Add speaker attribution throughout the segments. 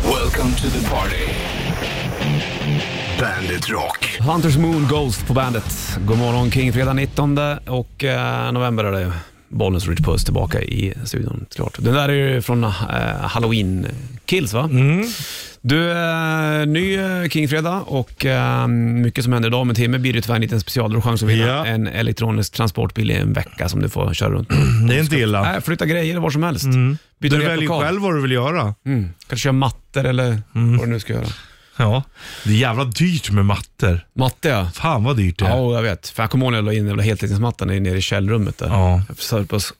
Speaker 1: Welcome to the party. Bandit Rock.
Speaker 2: Hunters Moon Ghost på bandet. God morgon King, fredag 19 och eh, november är det Bollnäs Rich Puss tillbaka i studion. Klart. Den där är ju från eh, Halloween Kills va?
Speaker 3: Mm.
Speaker 2: Du, eh, ny eh, King-fredag och eh, mycket som händer idag. Om en timme blir det tyvärr en liten special. Då har du chans att vinna
Speaker 3: Ja.
Speaker 2: en elektronisk transportbil i en vecka som du får köra runt
Speaker 3: Det är inte illa.
Speaker 2: Nej, flytta grejer var som helst. Byta
Speaker 3: Mm. Du
Speaker 2: replokal.
Speaker 3: väljer själv vad du vill göra. Mm.
Speaker 2: Mm. Kanske köra mattor eller vad du nu ska göra.
Speaker 3: Ja. Det är jävla dyrt med mattor.
Speaker 2: Matte ja.
Speaker 3: Fan vad dyrt det är.
Speaker 2: Ja, jag vet. För jag kommer ihåg när jag la in den jävla heltäckningsmattan nere i källrummet där.
Speaker 3: Ja.
Speaker 2: Jag försökte på att s-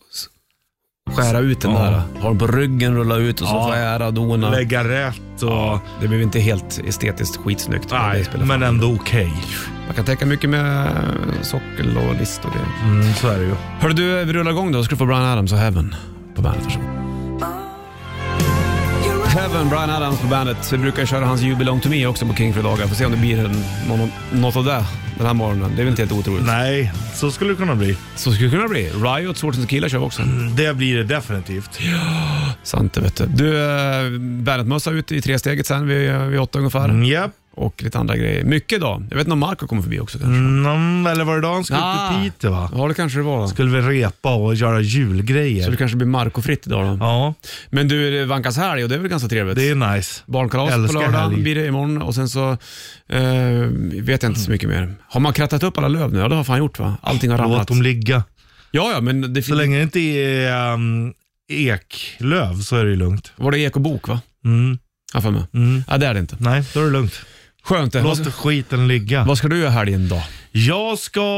Speaker 2: skära ut den där. Ha den på ryggen, rulla ut och så
Speaker 3: Ja.
Speaker 2: skära och dona.
Speaker 3: Lägga rätt och...
Speaker 2: Det blev inte helt estetiskt skitsnyggt. men det
Speaker 3: Nej,
Speaker 2: spelar
Speaker 3: men
Speaker 2: fan
Speaker 3: ändå okej.
Speaker 2: roll. Man kan täcka mycket med eh, sockel och list och grejer.
Speaker 3: Mm, så är det ju.
Speaker 2: Hörru du, vi rullar igång då. Ska du få Brian Adams och Heaven på bandet. Varsågod. Heaven, Brian Adams på bandet. Vi brukar köra hans You Belong To Me också på Kingfredagar. Får se om det blir en, någon, något av det den här morgonen. Det är väl inte helt otroligt.
Speaker 3: Nej, så skulle det kunna bli.
Speaker 2: Så skulle det kunna bli. Riot, Swords and Tequila kör vi också.
Speaker 3: Det blir det definitivt.
Speaker 2: Mm, Sant det vet du. Du, eh, bandetmössa ut i tresteget sen vid, eh, vid åtta ungefär.
Speaker 3: Mm, Japp.
Speaker 2: Och lite andra grejer. Mycket idag. Jag vet inte om Marco kommer förbi också kanske.
Speaker 3: Mm, eller var det dagen skulle upp
Speaker 2: Ah.
Speaker 3: till Piteå va?
Speaker 2: Ja, det kanske det var.
Speaker 3: Skulle vi repa och göra
Speaker 2: Så det
Speaker 3: julgrejer.
Speaker 2: kanske blir Marco-fritt idag då.
Speaker 3: Ja,
Speaker 2: Men du, det vankas helg och det är väl ganska trevligt?
Speaker 3: det är nice.
Speaker 2: Barnkalas på
Speaker 3: Älskar
Speaker 2: lördag
Speaker 3: helg.
Speaker 2: blir det imorgon och sen så eh, vet jag inte så mycket mer. Har man krattat upp alla löv nu? Ja, det har fan gjort va? Allting har
Speaker 3: Låt
Speaker 2: ramlat.
Speaker 3: dem ligga.
Speaker 2: Ja, ja, men det
Speaker 3: Så
Speaker 2: fin-
Speaker 3: länge det inte är um, eklöv så är det ju lugnt.
Speaker 2: var det ekobok va?
Speaker 3: Mm,
Speaker 2: Har jag för mig.
Speaker 3: mm.
Speaker 2: Ja, det är det inte.
Speaker 3: Nej, då är det lugnt.
Speaker 2: Skönt det.
Speaker 3: Låt
Speaker 2: Vad,
Speaker 3: skiten ligga.
Speaker 2: vad ska du göra helgen då?
Speaker 3: Jag ska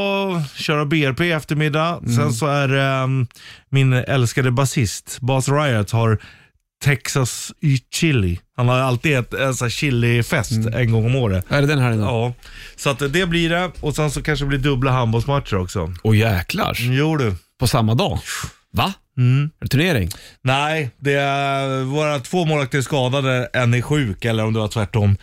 Speaker 3: köra BRP i eftermiddag. Sen så är ehm, min älskade basist, Bas Riot, har Texas y chili. Han har alltid ett, en sån här chilifest en gång om året.
Speaker 2: Är det den helgen då? Åh
Speaker 3: Ja, så att det blir det. Och sen så kanske det blir dubbla handbollsmatcher också.
Speaker 2: jäklar.
Speaker 3: Jo du.
Speaker 2: På samma dag? Va?
Speaker 3: Mm.
Speaker 2: Är det turnering?
Speaker 3: Nej, det är, våra två målvakter är skadade, en är sjuk eller om det var tvärtom.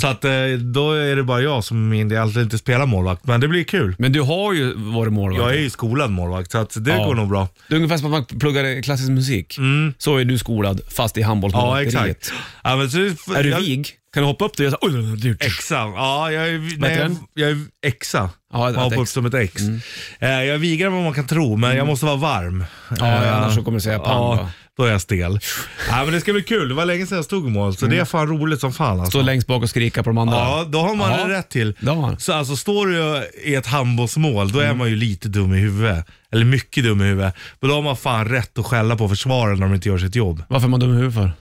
Speaker 3: Så att eh, då är det bara jag som inte- alltid inte spelar målvakt, men det blir kul.
Speaker 2: Men du har ju varit målvakt.
Speaker 3: Jag är ju skolad målvakt, så att det
Speaker 2: Ja.
Speaker 3: går nog bra.
Speaker 2: Det är ungefär som att man pluggar klassisk musik. Så är du skolad, fast i
Speaker 3: Mm. Ja,
Speaker 2: handbollsmålvakteriet.
Speaker 3: exakt. Ja, men så det,
Speaker 2: Är du
Speaker 3: jag,
Speaker 2: vig? Kan du hoppa upp dig och göra så- Oj,
Speaker 3: Exa. Ja, jag är, nej,
Speaker 2: heter
Speaker 3: jag,
Speaker 2: den?
Speaker 3: jag är exa.
Speaker 2: Ja, ett
Speaker 3: man hoppar
Speaker 2: ex. Mm.
Speaker 3: upp som ett ex. Eh, jag är vigare än vad man kan tro, men jag måste vara varm.
Speaker 2: Ja,
Speaker 3: Eh,
Speaker 2: annars så kommer du säga pang, va?
Speaker 3: ja, då är jag stel. ja, men det ska bli kul. Det var länge sedan jag stod i mål, så det är fan roligt som fan alltså.
Speaker 2: Mm. Stå längst bak och skrika på de andra.
Speaker 3: Ja, då har man
Speaker 2: Ja.
Speaker 3: det rätt till.
Speaker 2: Det har man.
Speaker 3: Så alltså står du i ett handbollsmål, då
Speaker 2: Mm.
Speaker 3: är man ju lite dum i huvudet. Eller mycket dum i huvudet. Men då har man fan rätt att skälla på försvararen när de inte gör sitt jobb.
Speaker 2: Varför är man dum i huvudet för?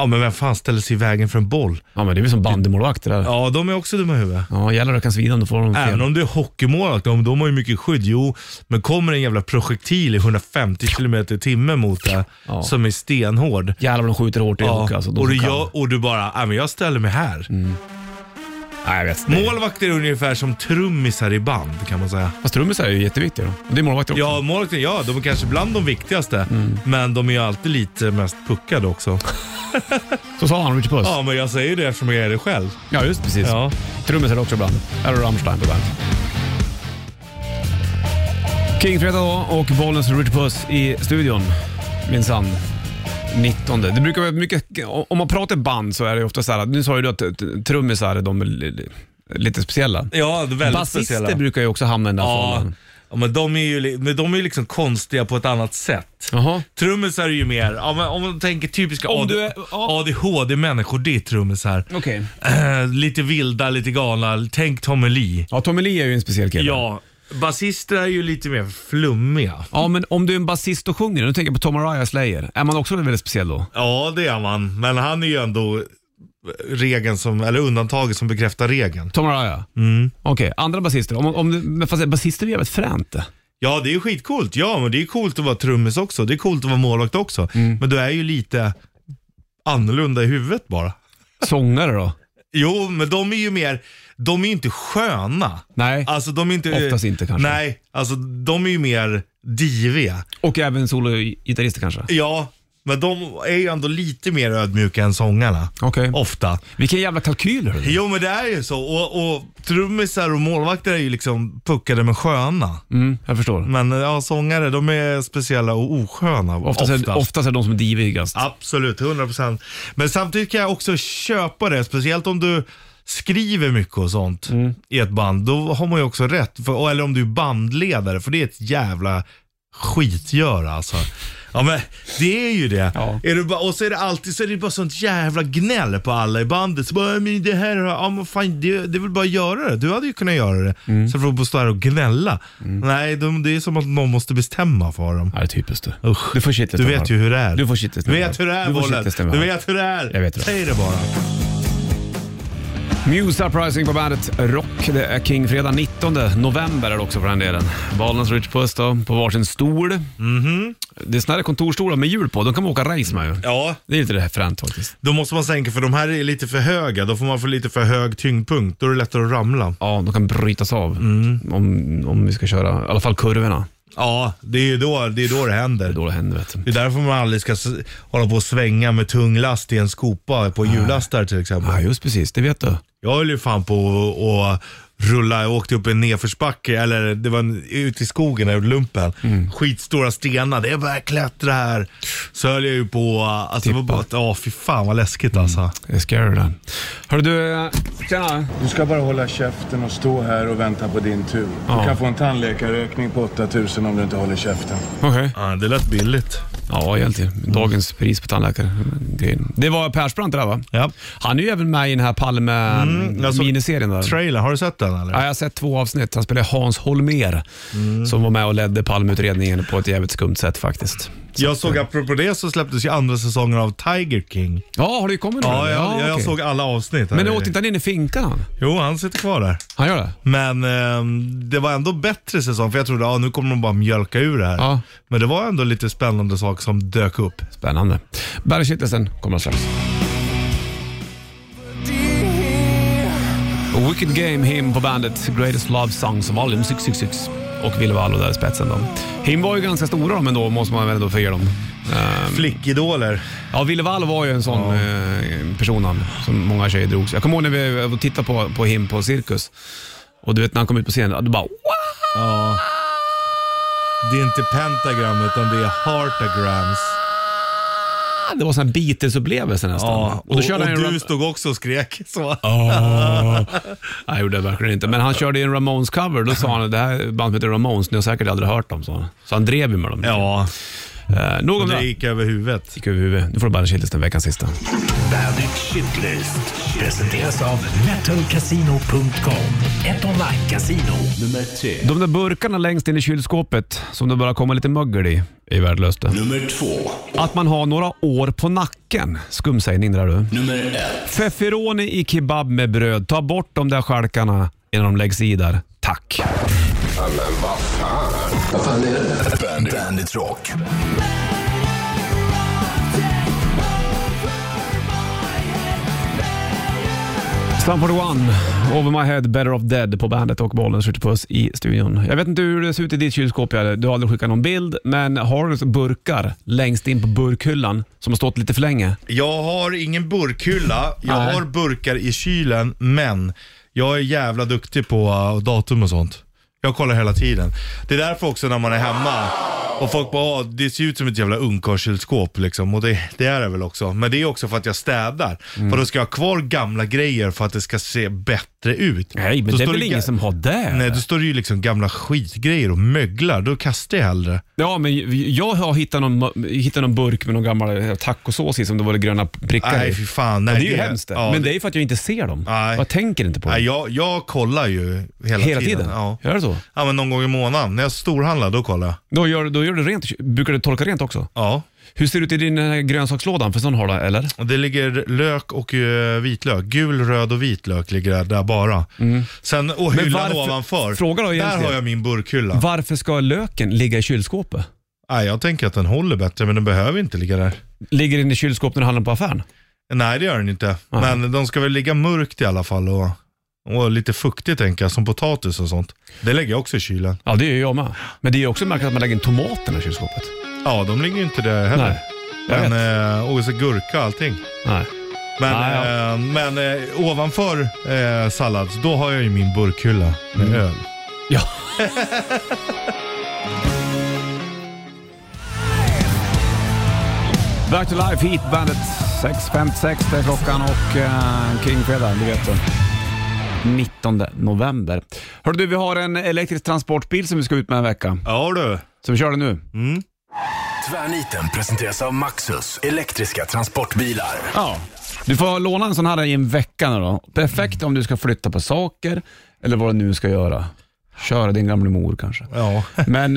Speaker 3: Ja, men vem fan ställer sig i vägen för en boll?
Speaker 2: Ja, men det är väl som bandymålvakter där. Ja.
Speaker 3: Ja, de är också dumma i huvudet.
Speaker 2: jävlar det kan svida om du får dem fel.
Speaker 3: Även om du är hockeymålvakt, de, de har ju mycket skydd. Jo, men kommer en jävla projektil i 150 km i timmen mot dig
Speaker 2: Ja.
Speaker 3: som är stenhård.
Speaker 2: Jävlar vad de skjuter hårt i
Speaker 3: Ja.
Speaker 2: hockey alltså. de
Speaker 3: och, du
Speaker 2: som kan. Mm.
Speaker 3: gör, och du bara, "Ja, men jag ställer mig här.
Speaker 2: Nej, jag vet. inte.
Speaker 3: Målvakter är ungefär som trummisar i band kan man säga.
Speaker 2: Fast trummisar är ju jätteviktiga då. Och Det är målvakter också.
Speaker 3: Ja, målvakter, ja, de är kanske bland de viktigaste.
Speaker 2: Mm.
Speaker 3: Men de är ju alltid lite mest puckade också.
Speaker 2: Så sa han, Richard Puss. Ja.
Speaker 3: Ja, men jag säger det eftersom jag är det själv.
Speaker 2: just precis.
Speaker 3: Ja.
Speaker 2: Trummisar också ibland. Här har Rammstein på bandet. Kingfredag då och Bollnäs Richard Puss i studion. Minsann. 19. Det brukar vara mycket, om man pratar band så är det ofta så här, att- nu sa ju du att eh, trummisar är de li- lite speciella.
Speaker 3: Ja, det är väldigt
Speaker 2: Basister
Speaker 3: speciella.
Speaker 2: brukar ju också hamna i den där
Speaker 3: Ja,
Speaker 2: fållan.
Speaker 3: ja, men de är ju li- men de är ju liksom konstiga på ett annat sätt.
Speaker 2: Jaha.
Speaker 3: Trummisar är ju mer, ja, men om man tänker typiska
Speaker 2: Om
Speaker 3: AD
Speaker 2: du är- ja.
Speaker 3: ADHD-människor, det är trummisar.
Speaker 2: Okej.
Speaker 3: Eh, lite vilda, lite galna. Tänk Tommy Lee.
Speaker 2: Ja, Tommy Lee är ju en speciell kille.
Speaker 3: Ja, basister är ju lite mer flummiga.
Speaker 2: Ja, men om du är en basist och sjunger, nu tänker jag på Tom Araya Slayer, är man också väldigt speciell då?
Speaker 3: Ja, det är man. Men han är ju ändå regeln som, eller undantaget som bekräftar regeln.
Speaker 2: Tom Araya? Mm. Okej, andra basister om, om, du- Men fast basister är jävligt fränt det.
Speaker 3: Ja, det är ju skitcoolt. Ja, men det är coolt att vara trummis också. Det är coolt att vara målvakt också. Men du är ju lite annorlunda i huvudet bara.
Speaker 2: Sångare då?
Speaker 3: Jo, men de är ju mer, de är ju inte sköna.
Speaker 2: Nej,
Speaker 3: Alltså de är inte...
Speaker 2: Oftast inte, kanske.
Speaker 3: Nej, alltså de är ju mer diviga.
Speaker 2: och även sologitarrister kanske?
Speaker 3: Ja, Men de är ju ändå lite mer ödmjuka än sångarna.
Speaker 2: Okej.
Speaker 3: Ofta.
Speaker 2: Vilken jävla kalkyl hörru.
Speaker 3: Jo men det är ju så. Och, och trummisar och målvakter är ju liksom puckade med sköna.
Speaker 2: Mm, jag förstår.
Speaker 3: Men ja, sångare de är speciella och osköna.
Speaker 2: Oftast är, oftast är det de som är divigast.
Speaker 3: Absolut, 100%. Men samtidigt kan jag också köpa det, speciellt om du skriver mycket och sånt i ett band. Då har man ju också rätt. För, eller om du är bandledare, för det är ett jävla skitgör alltså. Ja men det är ju det.
Speaker 2: Ja.
Speaker 3: Är du bara, och så är det alltid så är det bara sånt jävla gnäll på alla i bandet. Så bara, men det här, ja men fan det, det är väl bara att göra det. Du hade ju kunnat göra det. Så får du bara stå här och gnälla. Nej, de, det är som att någon måste bestämma för dem.
Speaker 2: Ja, det är typiskt du.
Speaker 3: Usch.
Speaker 2: Du får shitlistan,
Speaker 3: Du vet ju hur det är.
Speaker 2: Du får shitlistan,
Speaker 3: Du
Speaker 2: Harald.
Speaker 3: vet hur det är
Speaker 2: Du får
Speaker 3: bollen.
Speaker 2: shitlistan,
Speaker 3: Du
Speaker 2: Harald.
Speaker 3: vet hur det är.
Speaker 2: Jag vet det.
Speaker 3: Säg det bara.
Speaker 2: Muse Uprising på bandet Rock. Det är King fredag 19 november är det också för den delen. Valens Rich Puss då, på varsin stol. Det är såna här kontorsstolar med hjul på. De kan man åka race med ju.
Speaker 3: Mhm. Ja,
Speaker 2: Det är lite det här fränt faktiskt.
Speaker 3: då måste man sänka för de här är lite för höga. Då får man få lite för hög tyngdpunkt. Då är det lättare att ramla.
Speaker 2: Ja, de kan brytas av
Speaker 3: Mm.
Speaker 2: om, om vi ska köra, i alla fall kurvorna.
Speaker 3: Ja, det är ju då det, är då det
Speaker 2: Det är
Speaker 3: händer.
Speaker 2: då det händer vet du.
Speaker 3: Det är därför man aldrig ska s- hålla på och svänga med tung last i en skopa på hjullastare till exempel.
Speaker 2: Ja, just precis. Det vet du.
Speaker 3: Jag höll ju fan på att- att rulla, jag åkte upp en nedförsbacke, eller det var en, ute i skogen där jag gjorde lumpen.
Speaker 2: Mm.
Speaker 3: Skitstora stenar, det är bara att klättra här. Så höll jag ju på, alltså det var
Speaker 2: Tippa. Mm.
Speaker 3: bara, ja fy fan vad läskigt alltså.
Speaker 2: Det är scary det. Hörru du, eh, tjena.
Speaker 1: Du ska bara hålla käften och stå här och vänta på din tur. Du
Speaker 2: Ja.
Speaker 1: kan få en tandläkarräkning på 8000 om du inte håller käften.
Speaker 2: Okej.
Speaker 3: Ja, det lät billigt.
Speaker 2: Ja, egentligen. Dagens pris på tandläkare. Grejen. Det var Persbrandt det där va?
Speaker 3: Ja.
Speaker 2: Han är ju även med i den här
Speaker 3: alltså,
Speaker 2: Palme-miniserien. där.
Speaker 3: Trailer, har du sett den eller?
Speaker 2: Ja, jag har sett två avsnitt. Han spelar Hans Holmér
Speaker 3: Mm.
Speaker 2: som var med och ledde Palmeutredningen på ett jävligt skumt sätt faktiskt.
Speaker 3: Jag såg, apropå det, så släpptes ju andra säsongen av Tiger King.
Speaker 2: Ja, har du kommit nu?
Speaker 3: Ja, jag, jag
Speaker 2: okej.
Speaker 3: såg alla avsnitt. här.
Speaker 2: Men åt inte han in i finkan han?
Speaker 3: Jo, han sitter kvar där.
Speaker 2: Han gör det?
Speaker 3: Men ehm, det var ändå bättre säsong, för jag trodde att nu kommer de bara mjölka ur det här.
Speaker 2: Ja.
Speaker 3: Men det var ändå lite spännande saker som dök upp.
Speaker 2: Spännande. Bergkittelsen kommer strax. Wicked Game, him på bandet Greatest Love Songs Volume 666 och Ville Vallo där i spetsen. Då. Him var ju ganska stora de ändå, måste man väl ändå få ge dem. Ehm,
Speaker 3: Flickidoler.
Speaker 2: Ja, Ville Wall var ju en sån eh, person han, som många tjejer drogs. Jag kommer ihåg när vi var och tittade på, på him på Cirkus. Och du vet när han kom ut på scenen, ja, då bara wow!
Speaker 3: Ja. Det är inte pentagram utan det är heartagrams.
Speaker 2: Det var sån här Beatles-upplevelse nästan.
Speaker 3: Ja, och,
Speaker 2: då
Speaker 3: och,
Speaker 2: körde han ju
Speaker 3: du
Speaker 2: Ram-
Speaker 3: stod också och skrek. Så.
Speaker 2: Åh. Nej, jag gjorde det verkligen inte. Men han körde ju en Ramones-cover. Då sa han, det här bandet heter Ramones, ni har säkert aldrig hört dem. Så han, så han drev ju med dem.
Speaker 3: Ja,
Speaker 2: Eh, nog om
Speaker 3: det
Speaker 2: det.
Speaker 3: gick över huvudet.
Speaker 2: Gick över huvudet. Nu får du bara en chilis den veckans sista.
Speaker 4: Bandit Shitlist presenteras av metalcasino.com. Ett online-casino. Nummer tre.
Speaker 2: De där burkarna längst in i kylskåpet som det börjar komma lite mögel i, är värdelöst det.
Speaker 4: Nummer två.
Speaker 2: Att man har några år på nacken. Skum sägning det där du.
Speaker 4: Nummer ett.
Speaker 2: Feferoni i kebab med bröd. Ta bort de där stjälkarna innan de läggs i där. Tack.
Speaker 4: Bandit, Bandit Rock.
Speaker 2: Stanford One, Over My Head, Better Off Dead på bandet och bollen skjuter på oss i studion. Jag vet inte hur det ser ut i ditt kylskåp, Jalle. du har aldrig skickat någon bild, men har du burkar längst in på burkhyllan som har stått lite för länge?
Speaker 3: Jag har ingen burkhylla. Jag
Speaker 2: Nej.
Speaker 3: har burkar i kylen, men jag är jävla duktig på uh, datum och sånt. Jag kollar hela tiden. Det är därför också när man är hemma och folk bara, "Ah, det ser ut som ett jävla ungkarlskylskåp liksom. Och det, det är det väl också. Men det är också för att jag städar.
Speaker 2: Mm.
Speaker 3: För då ska jag ha kvar gamla grejer för att det ska se bättre ut.
Speaker 2: Nej, men
Speaker 3: Då
Speaker 2: det är
Speaker 3: står
Speaker 2: väl
Speaker 3: ga-
Speaker 2: ingen som har det?
Speaker 3: Nej, då står det ju liksom gamla skitgrejer och möglar. Då kastar jag hellre.
Speaker 2: Ja, men jag har hittat någon, hittat någon burk med någon gammal eh, tacosås i som det var det gröna prickar i.
Speaker 3: Nej, fy fan.
Speaker 2: Ja,
Speaker 3: Nej,
Speaker 2: det är ju hemskt det.
Speaker 3: ja,
Speaker 2: Men det är ju för att jag inte ser dem.
Speaker 3: Nej.
Speaker 2: Jag tänker inte på dem.
Speaker 3: Nej, jag, jag kollar ju hela,
Speaker 2: Mm. Hela tiden?
Speaker 3: Ja.
Speaker 2: Gör du så?
Speaker 3: ja, men någon gång i månaden. När jag storhandlar, då kollar jag.
Speaker 2: Då gör, då gör du rent. Brukar du torka rent också?
Speaker 3: Ja.
Speaker 2: Hur ser det ut i din eh, grönsakslådan? För sån har du, eller?
Speaker 3: Och det ligger lök och eh, vitlök. Gul, röd och vitlök ligger där, där bara. Sen, och
Speaker 2: Mm. Men
Speaker 3: hyllan
Speaker 2: varför-
Speaker 3: ovanför.
Speaker 2: fråga då
Speaker 3: där
Speaker 2: egentligen.
Speaker 3: har jag min burkhylla.
Speaker 2: Varför ska löken ligga i kylskåpet?
Speaker 3: Nej, jag tänker att den håller bättre, men den behöver inte ligga där.
Speaker 2: Ligger den i kylskåpet när du handlar på affären?
Speaker 3: Nej, det gör den inte.
Speaker 2: Nej.
Speaker 3: Men de ska väl ligga mörkt i alla fall och, och lite fuktigt tänker jag, som potatis och sånt. Det lägger jag också i kylen.
Speaker 2: Ja, det gör jag med. Men det är ju också märkligt att man lägger en tomaterna i kylskåpet.
Speaker 3: Ja, de ligger ju inte där heller.
Speaker 2: Nej. Jag
Speaker 3: Men
Speaker 2: vet.
Speaker 3: eh, och så gurka och allting.
Speaker 2: Nej.
Speaker 3: Men,
Speaker 2: Ah, ja.
Speaker 3: eh, men eh, ovanför eh, sallad, då har jag ju min burkhylla med
Speaker 2: Mm.
Speaker 3: öl.
Speaker 2: Ja. Back to life, Heat Bandet. 6.56 det är klockan och eh, King Fredag, det vet du. 19 november. Hörru du, vi har en elektrisk transportbil som vi ska ut med en vecka.
Speaker 3: Ja du.
Speaker 2: Så vi kör den nu.
Speaker 4: Tvärniten presenteras av Maxus elektriska transportbilar.
Speaker 2: Ja. Du får låna en sån här i en vecka nu då. Perfekt
Speaker 3: Mm.
Speaker 2: om du ska flytta på saker eller vad du nu ska göra. Köra din gamla mor kanske.
Speaker 3: Ja.
Speaker 2: Men...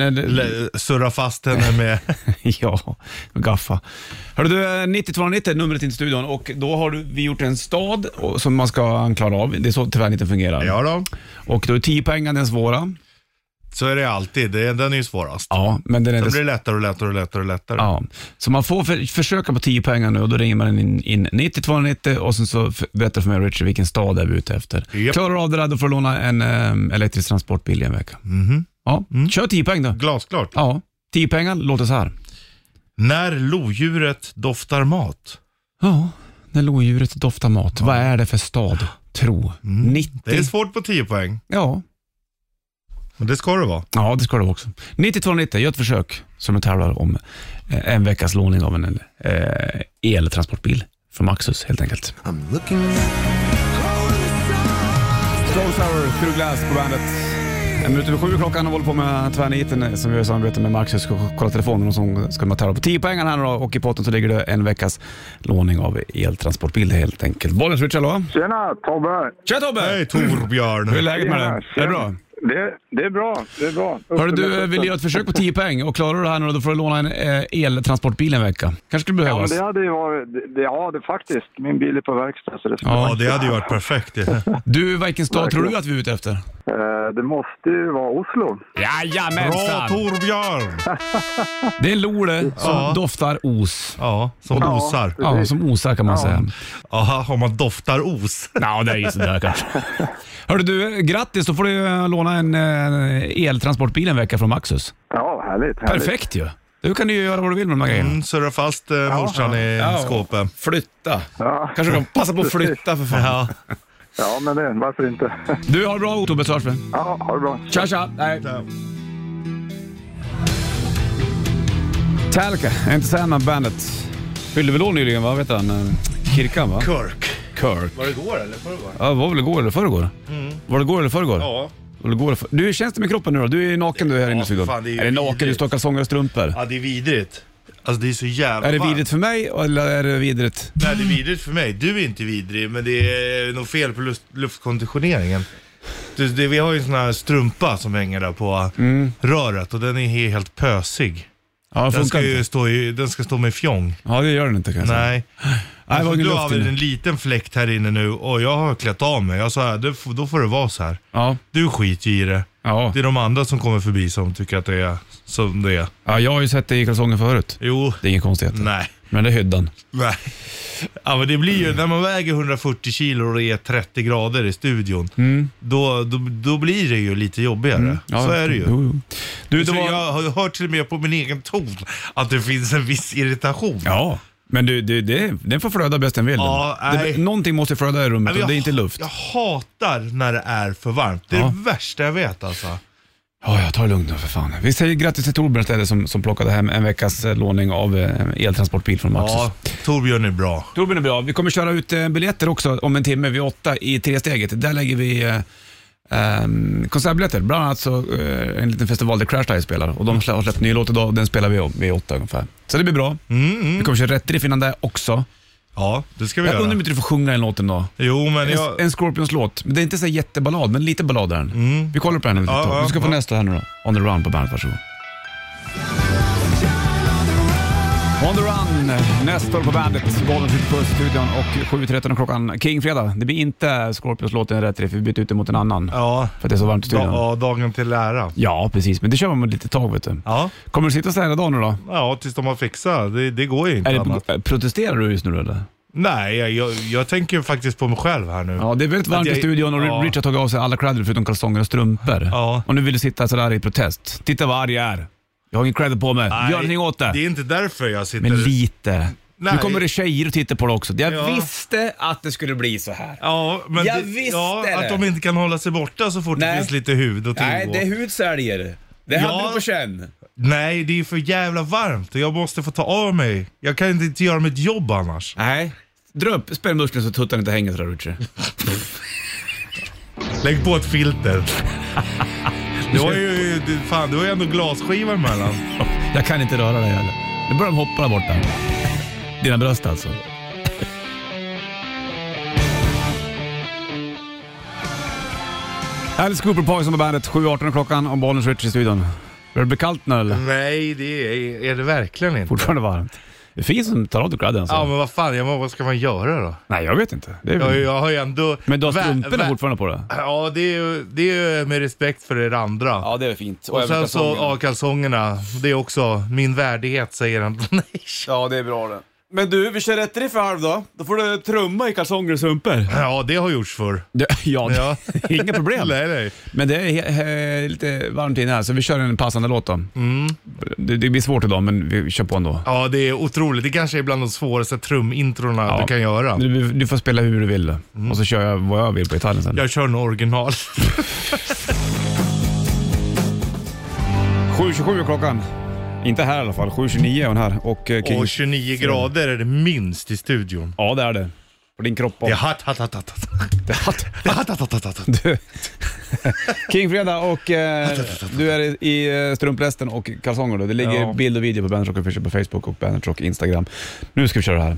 Speaker 2: eh, det-
Speaker 3: L- surra fast henne med...
Speaker 2: ja, gaffa. Hörru du, 9290 är numret in till studion och då har du, vi gjort en stad och- som man ska klara av. Det är så tyvärr inte fungerar.
Speaker 3: ja då.
Speaker 2: Och då är 10 poängen den svåra.
Speaker 3: Så är det alltid. Det, den är ju svårast.
Speaker 2: Ja, men den är
Speaker 3: Sen
Speaker 2: inte
Speaker 3: blir det lättare och lättare och lättare och lättare.
Speaker 2: Ja, så man får för, försöka på 10 pengar nu och då ringer man in, in 9290 och sen så f- berättar för mig Richard vilken stad är vi ute efter.
Speaker 3: Japp.
Speaker 2: Klarar du av det där, då får du låna en ehm, elektrisk transportbil i en vecka.
Speaker 3: Mhm.
Speaker 2: Ja,
Speaker 3: Mm.
Speaker 2: kör 10 poäng då.
Speaker 3: Glasklart.
Speaker 2: Ja, 10 pengar låter så här.
Speaker 3: När lodjuret doftar mat.
Speaker 2: Ja, när lodjuret doftar mat. Vad är det för stad? Tro. 90.
Speaker 3: Mm. Det är svårt på 10 poäng,
Speaker 2: ja.
Speaker 3: men det ska det vara.
Speaker 2: ja, det ska det vara också. 9290, gör ett försök som du tävlar om eh, en veckas låning av en eh, eltransportbil från Maxus helt enkelt.
Speaker 4: I'm looking
Speaker 2: Stone Sour, Through Glass på bandet. En minut över sju klockan och håller på med tvärniten eh, som vi gör i samarbete med Max. Jag ska kolla telefonen och så ska man tävla på 10 poängen här nu då och i potten så ligger det en veckas låning av eltransportbil helt enkelt. Bollens Richard, hallå?
Speaker 5: Tjena, Tobbe!
Speaker 2: Tja Tobbe!
Speaker 3: Hej
Speaker 2: Hur är
Speaker 3: Torbjörn!
Speaker 2: läget med dig?
Speaker 5: Tjena,
Speaker 2: Är det
Speaker 5: tjena.
Speaker 2: bra?
Speaker 5: Det, det är bra. Det är bra. Upp
Speaker 2: Hörru
Speaker 5: till
Speaker 2: du, eh,
Speaker 5: bussen.
Speaker 2: vill göra ett försök på 10 poäng och klarar du det här nu då, då får du låna en eh, eltransportbil en vecka. kanske skulle
Speaker 5: Ja, men
Speaker 2: behövas.
Speaker 5: det hade ju varit... Det, det, ja, det faktiskt. Min bil är på verkstad, så det skulle
Speaker 3: Ja,
Speaker 5: vara-
Speaker 3: det hade ju varit perfekt.
Speaker 2: Du, vilken stad tror du att vi är ute efter?
Speaker 5: Eh, det måste ju vara Oslo.
Speaker 3: Bra
Speaker 2: Jajamensan!
Speaker 3: Torbjörn!
Speaker 2: Det är Lole som
Speaker 3: Ja.
Speaker 2: doftar os.
Speaker 3: Ja, som
Speaker 5: Ja.
Speaker 3: osar.
Speaker 2: Ja, som osar kan man säga.
Speaker 3: Jaha, om man doftar os.
Speaker 2: Ja, det är ju sådär kanske. Hörru du, grattis. Då får du eh, låna en eh, eltransportbil en vecka från Maxus.
Speaker 5: Ja, härligt. härligt.
Speaker 2: Perfekt ju. Du kan du ju göra vad du vill med de här grejerna.
Speaker 3: Mm, surra fast eh, morsan i skåpet.
Speaker 2: Flytta.
Speaker 5: Ja.
Speaker 2: Kanske kan passa på att flytta för fan.
Speaker 3: Ja.
Speaker 5: Ja, men det, varför inte?
Speaker 2: Du, har det bra Tobbe så hörs vi.
Speaker 5: Ja, ha det bra.
Speaker 2: Tja tja. Nej. Talca, Entertainment Bandet. Fyllde väl år nyligen va? Vet han? eh, Kirkan va?
Speaker 3: Kirk.
Speaker 2: Kirk.
Speaker 3: Var det igår eller förrgår?
Speaker 2: Ja, det var väl igår eller förrgår? Var det igår eller förrgår?
Speaker 3: Mm. Ja.
Speaker 2: Var det igår eller för... Du, hur känns det med kroppen nu då? Du är naken du här inne i
Speaker 3: Ja,
Speaker 2: studion.
Speaker 3: fan, det är ju
Speaker 2: Eller naken, du
Speaker 3: vidrigt.
Speaker 2: stockar sånger och strumpor.
Speaker 3: Ja, det är vidrigt. Alltså det är så jävla
Speaker 2: Är det
Speaker 3: varmt.
Speaker 2: vidrigt för mig eller är det vidrigt?
Speaker 3: Nej, det är vidrigt för mig. Du är inte vidrig, men det är nog fel på luft, luftkonditioneringen. Du, det, vi har ju en sån här strumpa som hänger där på röret och den är he- helt pösig.
Speaker 2: Ja, det
Speaker 3: Den
Speaker 2: Mm. funkar
Speaker 3: ska
Speaker 2: inte.
Speaker 3: ju stå, i, den ska stå med fjong.
Speaker 2: Ja, det gör den inte kan jag säga.
Speaker 3: Nej.
Speaker 2: Nej, det var ingen
Speaker 3: du har
Speaker 2: luft
Speaker 3: väl
Speaker 2: inne.
Speaker 3: en liten fläkt här inne nu och jag har klätt av mig. Jag sa, "Ja, det, får- då får det vara så här.
Speaker 2: Ja,
Speaker 3: Du skiter ju i det.
Speaker 2: ja.
Speaker 3: Det är de andra som kommer förbi som tycker att det är som det är.
Speaker 2: ja, jag har ju sett dig i kalsonger förut.
Speaker 3: Jo,
Speaker 2: Det är inga konstigheter.
Speaker 3: nej.
Speaker 2: Men det är hyddan.
Speaker 3: Nej. Ja, men det blir ju, när man väger 140 kilo och det är 30 grader i studion, då, då, då blir det ju lite jobbigare.
Speaker 2: Mm. Ja,
Speaker 3: så är det ju.
Speaker 2: Jo, jo. Du, det
Speaker 3: Så
Speaker 2: var...
Speaker 3: Jag har hört till och med på min egen ton att det finns en viss irritation.
Speaker 2: Ja, men du, du det, den får flöda bäst den vill.
Speaker 3: Ja, nej.
Speaker 2: det, någonting måste flöda i rummet
Speaker 3: Men
Speaker 2: och
Speaker 3: jag-
Speaker 2: det är inte luft.
Speaker 3: Jag hatar när det är för varmt. Det är
Speaker 2: Ja.
Speaker 3: det värsta jag vet alltså.
Speaker 2: Ja, jag tar det lugnt nu för fan. Vi säger grattis till Torbjörn istället som, som plockade hem en veckas eh, låning av eh, eltransportbil från Maxus.
Speaker 3: Ja, Torbjörn är bra.
Speaker 2: Torbjörn är bra. Vi kommer köra ut eh, biljetter också om en timme vid åtta i tresteget. Där lägger vi eh, eh, konsertbiljetter. Bland annat så, eh, en liten festival där Crash Dive spelar och de slä- har släppt ny låt idag och den spelar vi om vid åtta ungefär. Så det blir bra.
Speaker 3: Mm,
Speaker 2: Vi kommer köra rätt riff innan det också.
Speaker 3: Ja, det ska vi
Speaker 2: Jag
Speaker 3: göra.
Speaker 2: undrar om inte du får sjunga en låt en dag.
Speaker 3: Jo, men
Speaker 2: En,
Speaker 3: jag...
Speaker 2: en Scorpions-låt. Men Det är inte så här jätteballad, men lite ballad är den. Vi kollar på den om ett
Speaker 3: Mm. Ja,
Speaker 2: tag.
Speaker 3: ja,
Speaker 2: Du ska få
Speaker 3: ja.
Speaker 2: nästa här nu då. On the Run på bandet, varsågod. On the Run, Nestor på bandet, bollen sitter på studion och 7.13 klockan, King-fredag. Det blir inte Scorpions-låten Rätt Riff, vi byter ut den mot en annan.
Speaker 3: Ja,
Speaker 2: För att det är så varmt i
Speaker 3: da,
Speaker 2: studion.
Speaker 3: ja, dagen till ära.
Speaker 2: Ja, precis. Men det kör man med lite tag vet du.
Speaker 3: Ja.
Speaker 2: Kommer du sitta så här idag nu då?
Speaker 3: ja, tills de har fixat. Det, det går ju inte
Speaker 2: Är
Speaker 3: annat.
Speaker 2: det, protesterar du just nu då, eller?
Speaker 3: Nej, jag, jag, jag tänker ju faktiskt på mig själv här nu.
Speaker 2: Ja, det är väldigt varmt
Speaker 3: jag-
Speaker 2: i studion och
Speaker 3: ja.
Speaker 2: Richard har tagit av sig alla kläder förutom kalsonger och strumpor.
Speaker 3: Ja.
Speaker 2: Och nu vill du sitta sådär i protest. Titta vad arg jag är. Jag har ingen credit på mig.
Speaker 3: Nej,
Speaker 2: Gör någonting åt det.
Speaker 3: Det är inte därför jag sitter...
Speaker 2: Men lite.
Speaker 3: Nej.
Speaker 2: Nu kommer det tjejer och tittar på det också. Jag
Speaker 3: Ja.
Speaker 2: visste att det skulle bli så här.
Speaker 3: Ja, men
Speaker 2: Jag
Speaker 3: det,
Speaker 2: visste
Speaker 3: ja,
Speaker 2: det.
Speaker 3: Att de inte kan hålla sig borta så fort det
Speaker 2: Nej.
Speaker 3: finns lite hud att tillgå.
Speaker 2: Nej, det är hud säljer. Det
Speaker 3: Ja.
Speaker 2: hade du på känn.
Speaker 3: Nej, det är för jävla varmt och jag måste få ta av mig. Jag kan inte, inte göra mitt jobb annars.
Speaker 2: Nej. Dra upp spännmusklerna så tuttarna inte hänger sådär Richie.
Speaker 3: Lägg på ett filter. Du har ju, du- fan, du har ju ändå glasskiva emellan.
Speaker 2: Jag kan inte röra dig heller. Nu börjar de hoppa där borta. Dina bröst alltså. Alice Cooper Poison på bandet, 7.18 är klockan och Bollnäs Rich i studion. Börjar det bli kallt nu eller?
Speaker 3: Nej, det är, är det verkligen inte.
Speaker 2: Fortfarande varmt. Det är fin som tar av dig kläderna. Alltså.
Speaker 3: Ja, men vad fan, jag, vad ska man göra då?
Speaker 2: Nej, jag vet inte. Det är
Speaker 3: Jag, har ju-
Speaker 2: väl...
Speaker 3: jag har ju ändå...
Speaker 2: Men du har
Speaker 3: vä-
Speaker 2: strumporna
Speaker 3: vä-
Speaker 2: fortfarande på dig?
Speaker 3: Ja, det är, ju, det är ju med respekt för er andra.
Speaker 2: Ja, det är fint.
Speaker 3: och sen så, ja, kalsongerna. Det är också min värdighet, säger han. Nej,
Speaker 2: ja, det är bra det. Men du, vi kör rätt riff i halv då. Då får du trumma i kalsonger och strumpor.
Speaker 3: Ja, det har gjorts förr.
Speaker 2: Ja, det-
Speaker 3: Ja.
Speaker 2: inga problem.
Speaker 3: Nej, nej.
Speaker 2: Men det är he- he- lite varmt inne här, så vi kör en passande låt då.
Speaker 3: Mm.
Speaker 2: Det, det blir svårt idag, men vi kör på ändå.
Speaker 3: Ja, det är otroligt. Det kanske är bland de svåraste trumintrona
Speaker 2: Ja.
Speaker 3: du kan göra. Mm.
Speaker 2: Du, du får spela hur du vill och så kör jag vad jag vill på gitarren sen.
Speaker 3: Jag kör en original.
Speaker 2: 7.27 är klockan. Inte här i alla fall. 7.29 är hon här. Och eh, King...
Speaker 3: Och 29 grader är det minst i studion.
Speaker 2: Ja, det är det. På din kropp
Speaker 3: Det är
Speaker 2: också.
Speaker 3: hatt, hatt, hatt, hatt, hatt.
Speaker 2: Det är hatt.
Speaker 3: Det är hatt, hatt, hatt, hatt, hatt.
Speaker 2: Du. Kingfredag och eh, du är i- i eh, strumplästen och kalsonger. Då. Det ligger
Speaker 3: Ja.
Speaker 2: bild och video på Bandit Rock Official på Facebook och Bandit Rock Instagram. Nu ska vi köra det här.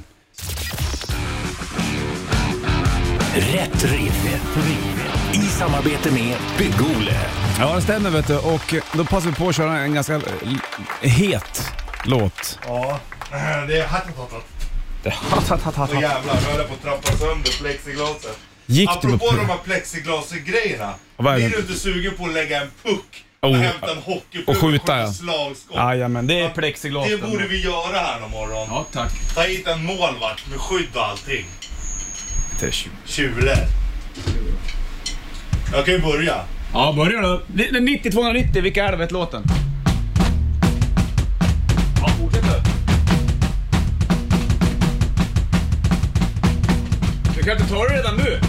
Speaker 4: Rätt riff. Rätt riff. I samarbete med Bygg-Ole.
Speaker 2: Ja, det stämmer vet du. Och då passar vi på att köra en ganska l- het låt.
Speaker 3: Ja, det är hatt, hatt, hatt, hatt. Åh jävlar, nu höll jag på att trappa sönder plexiglaset.
Speaker 2: Gick du
Speaker 3: Apropå
Speaker 2: på...
Speaker 3: de här plexiglasgrejerna.
Speaker 2: Vad är det?
Speaker 3: Blir du inte sugen på att lägga en puck?
Speaker 2: Oh,
Speaker 3: och hämta en hockeypuck
Speaker 2: och skjuta, ja.
Speaker 3: slagskott?
Speaker 2: Jajamän, det är plexiglas.
Speaker 3: Det borde vi göra här imorgon.
Speaker 2: Ja, tack.
Speaker 3: Ta hit en målvakt med skydd och allting.
Speaker 2: Det är tjugo.
Speaker 3: Tjule. Jag kan ju börja.
Speaker 2: Ja, börja då. 90-290, vilka är det vet låten? Ja, fortsätt du. Du kan inte ta det redan nu.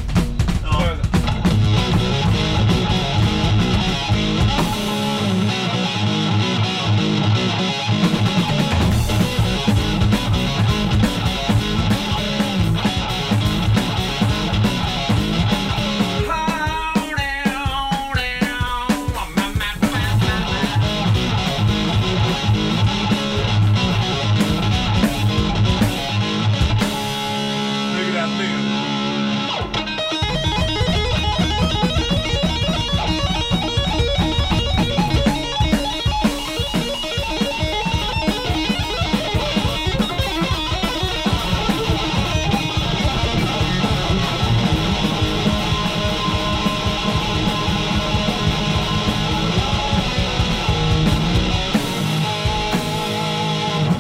Speaker 3: Snygg räddning.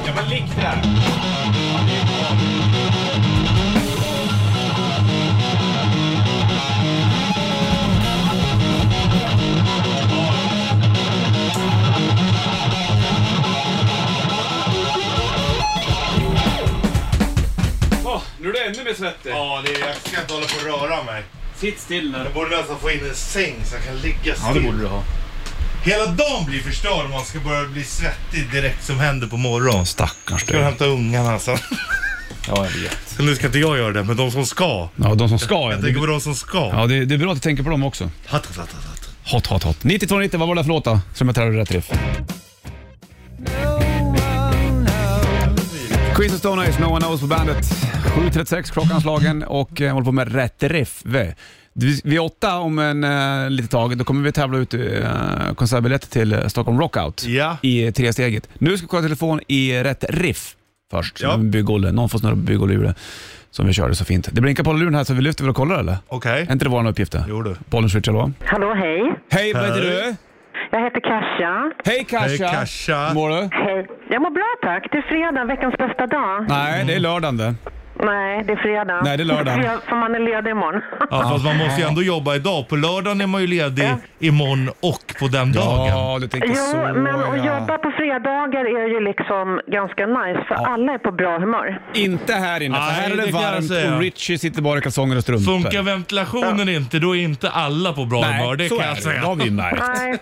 Speaker 2: Ja, men likt det där. Åh, Nu är du ännu mer svettig.
Speaker 3: Ja, det är, jag ska inte hålla på och röra mig.
Speaker 2: Sitt still nu.
Speaker 3: Jag borde nästan få in en säng så jag kan ligga still.
Speaker 2: Ja, det borde du ha.
Speaker 3: Hela dagen blir förstörd om man ska börja bli svettig direkt som händer på morgonen.
Speaker 2: Stackars
Speaker 3: Ska
Speaker 2: du.
Speaker 3: jag
Speaker 2: Ja,
Speaker 3: hämta ungarna sen.
Speaker 2: jag vet.
Speaker 3: Så Nu ska inte jag göra det, men de som ska.
Speaker 2: Ja, de som ska ja.
Speaker 3: Jag tänker på
Speaker 2: Det-
Speaker 3: de som ska.
Speaker 2: Ja, det, det är bra att du tänker på dem också.
Speaker 3: Hatt, hatt, hatt, hatt, hatt.
Speaker 2: Hot, hot, hot. 9290, vad var det för låt då? Som jag träffade rätt riff. Queens of Stone Age, No One Knows på bandet. 7.36 klockan slagen och eh, håller på med rätt riff. Vi- Vi är åtta om en eh, litet tag. Då kommer vi tävla ut eh, konsertbiljetter till eh, Stockholm Rockout
Speaker 3: Ja.
Speaker 2: i tre steget. Nu ska vi kolla telefon i rätt riff först.
Speaker 3: Ja.
Speaker 2: Ja. Byggolle. Någon får snurra på byggollehjulet som vi körde så fint. Det blinkar på luren här så vi lyfter väl och kollar eller?
Speaker 3: Okej.
Speaker 2: Är inte det vår uppgift? det?
Speaker 3: Jo du.
Speaker 2: Bollen switch, hallå?
Speaker 6: Hallå, hej.
Speaker 2: Hej, vad heter
Speaker 3: Hej.
Speaker 2: du?
Speaker 6: Jag heter Kasia.
Speaker 2: Hej Kasia!
Speaker 3: Hej, Kasia.
Speaker 2: Mår du?
Speaker 6: Hej. Jag mår bra tack. Det är fredag, veckans bästa dag.
Speaker 2: Nej, det är lördagen det.
Speaker 6: Nej, det är fredag.
Speaker 2: Nej, det är lördag.
Speaker 6: Fre- För man är ledig imorgon.
Speaker 3: Ja, fast man måste ju ändå jobba idag. På lördagen är man ju ledig imorgon och på den dagen.
Speaker 2: Ja, du tänker så.
Speaker 6: Jo, men
Speaker 2: ja.
Speaker 6: att jobba på fredagar är ju liksom ganska nice, för alla är på bra humör.
Speaker 2: Inte här inne, för
Speaker 3: Nej,
Speaker 2: här är det,
Speaker 3: det kan jag
Speaker 2: varmt
Speaker 3: säga.
Speaker 2: och Richie sitter bara i kalsonger och strumpor.
Speaker 3: Funkar ventilationen inte, då är inte alla på bra humör. Det
Speaker 2: så
Speaker 3: kan
Speaker 2: är
Speaker 3: jag
Speaker 2: det.
Speaker 3: säga.
Speaker 2: Då har vi märkt.
Speaker 6: Nej,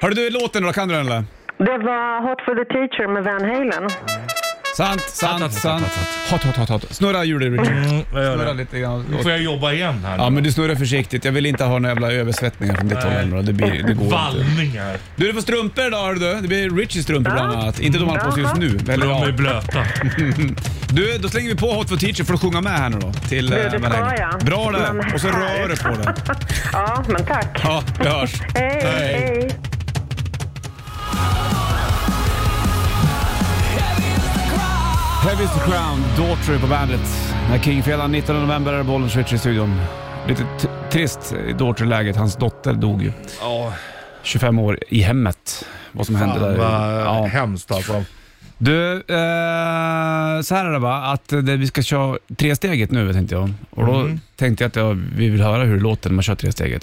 Speaker 2: Hörde du låten då, kan du den eller?
Speaker 6: det var Hot for the Teacher med Van Halen.
Speaker 2: Sant, sant, sant. Hot, hot, hot, hot. Snurra hjulet Richie.
Speaker 3: Mm, jag gör
Speaker 2: Snurra
Speaker 3: det.
Speaker 2: lite grann.
Speaker 3: Nu får jag jobba igen här.
Speaker 2: Ja, men du snurrar försiktigt. Jag vill inte ha några jävla översvettningar från ditt håll heller. Det, blir, det går inte.
Speaker 3: Vallningar.
Speaker 2: Du, du får strumpor idag hör du. Det blir Richies strumpor bland annat. Inte de han har på sig just nu. Eller,
Speaker 3: De är
Speaker 2: ja.
Speaker 3: blöta.
Speaker 2: Du, då slänger vi på Hot for Teacher för att sjunga med här nu då. Till,
Speaker 6: Du,
Speaker 2: eh,
Speaker 6: det
Speaker 2: Van
Speaker 6: ska
Speaker 2: Halen.
Speaker 6: jag.
Speaker 2: Bra det.
Speaker 6: Men-
Speaker 2: Och så rör du på den.
Speaker 6: Ja, men tack.
Speaker 2: Ja, vi hörs.
Speaker 6: Hej,
Speaker 2: Hej.
Speaker 6: hej.
Speaker 2: Heavy's the Crown, Daughtry på bandet. När Kingfredagen 19 november är bollen switch i studion. Lite t- trist i Daughtry-läget. Hans dotter dog ju.
Speaker 3: Ja,
Speaker 2: 25 år i hemmet. Vad som hände där.
Speaker 3: vad
Speaker 2: Ja.
Speaker 3: hemskt alltså.
Speaker 2: Du, eh, så här är det va, att det, vi ska köra tresteget nu tänkte jag. Och då tänkte jag att jag, vi vill höra hur det låter när man kör tresteget.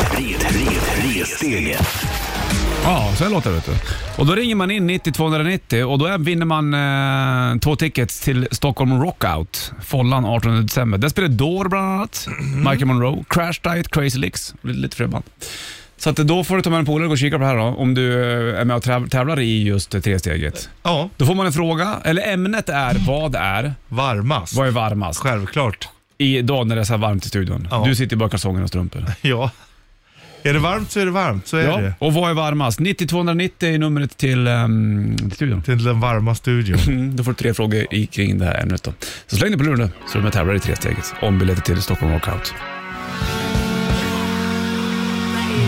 Speaker 4: Tre, tre, tre steget.
Speaker 2: Ja, så här låter det. Vet du. Och då ringer man in 90 290 och då är- vinner man eh, två tickets till Stockholm Rockout, Follan 18 december. Där spelar Door bland annat, Michael Monroe, Crash Diet, Crazy Licks, lite fler band. Så att då får du ta med en polare och gå och kika på det här då, om du eh, är med och täv- tävlar i just eh, tresteget.
Speaker 3: Ja,
Speaker 2: Då får man en fråga, eller ämnet är vad är,
Speaker 3: varmast.
Speaker 2: vad är varmast?
Speaker 3: Självklart.
Speaker 2: Idag när det är så här varmt i studion.
Speaker 3: Ja.
Speaker 2: Du sitter i bara kalsonger och strumpor.
Speaker 3: Ja. Är det varmt så är det varmt. Så är det.
Speaker 2: Och vad är varmast? 90-290 är numret till, ehm, till studion.
Speaker 3: Till den varma studion.
Speaker 2: Mm, då får du tre frågor i, kring det här ämnet då. Så släng dig på luren nu, så är du med och tävlar i tresteget om biljetter till Stockholm Rockout.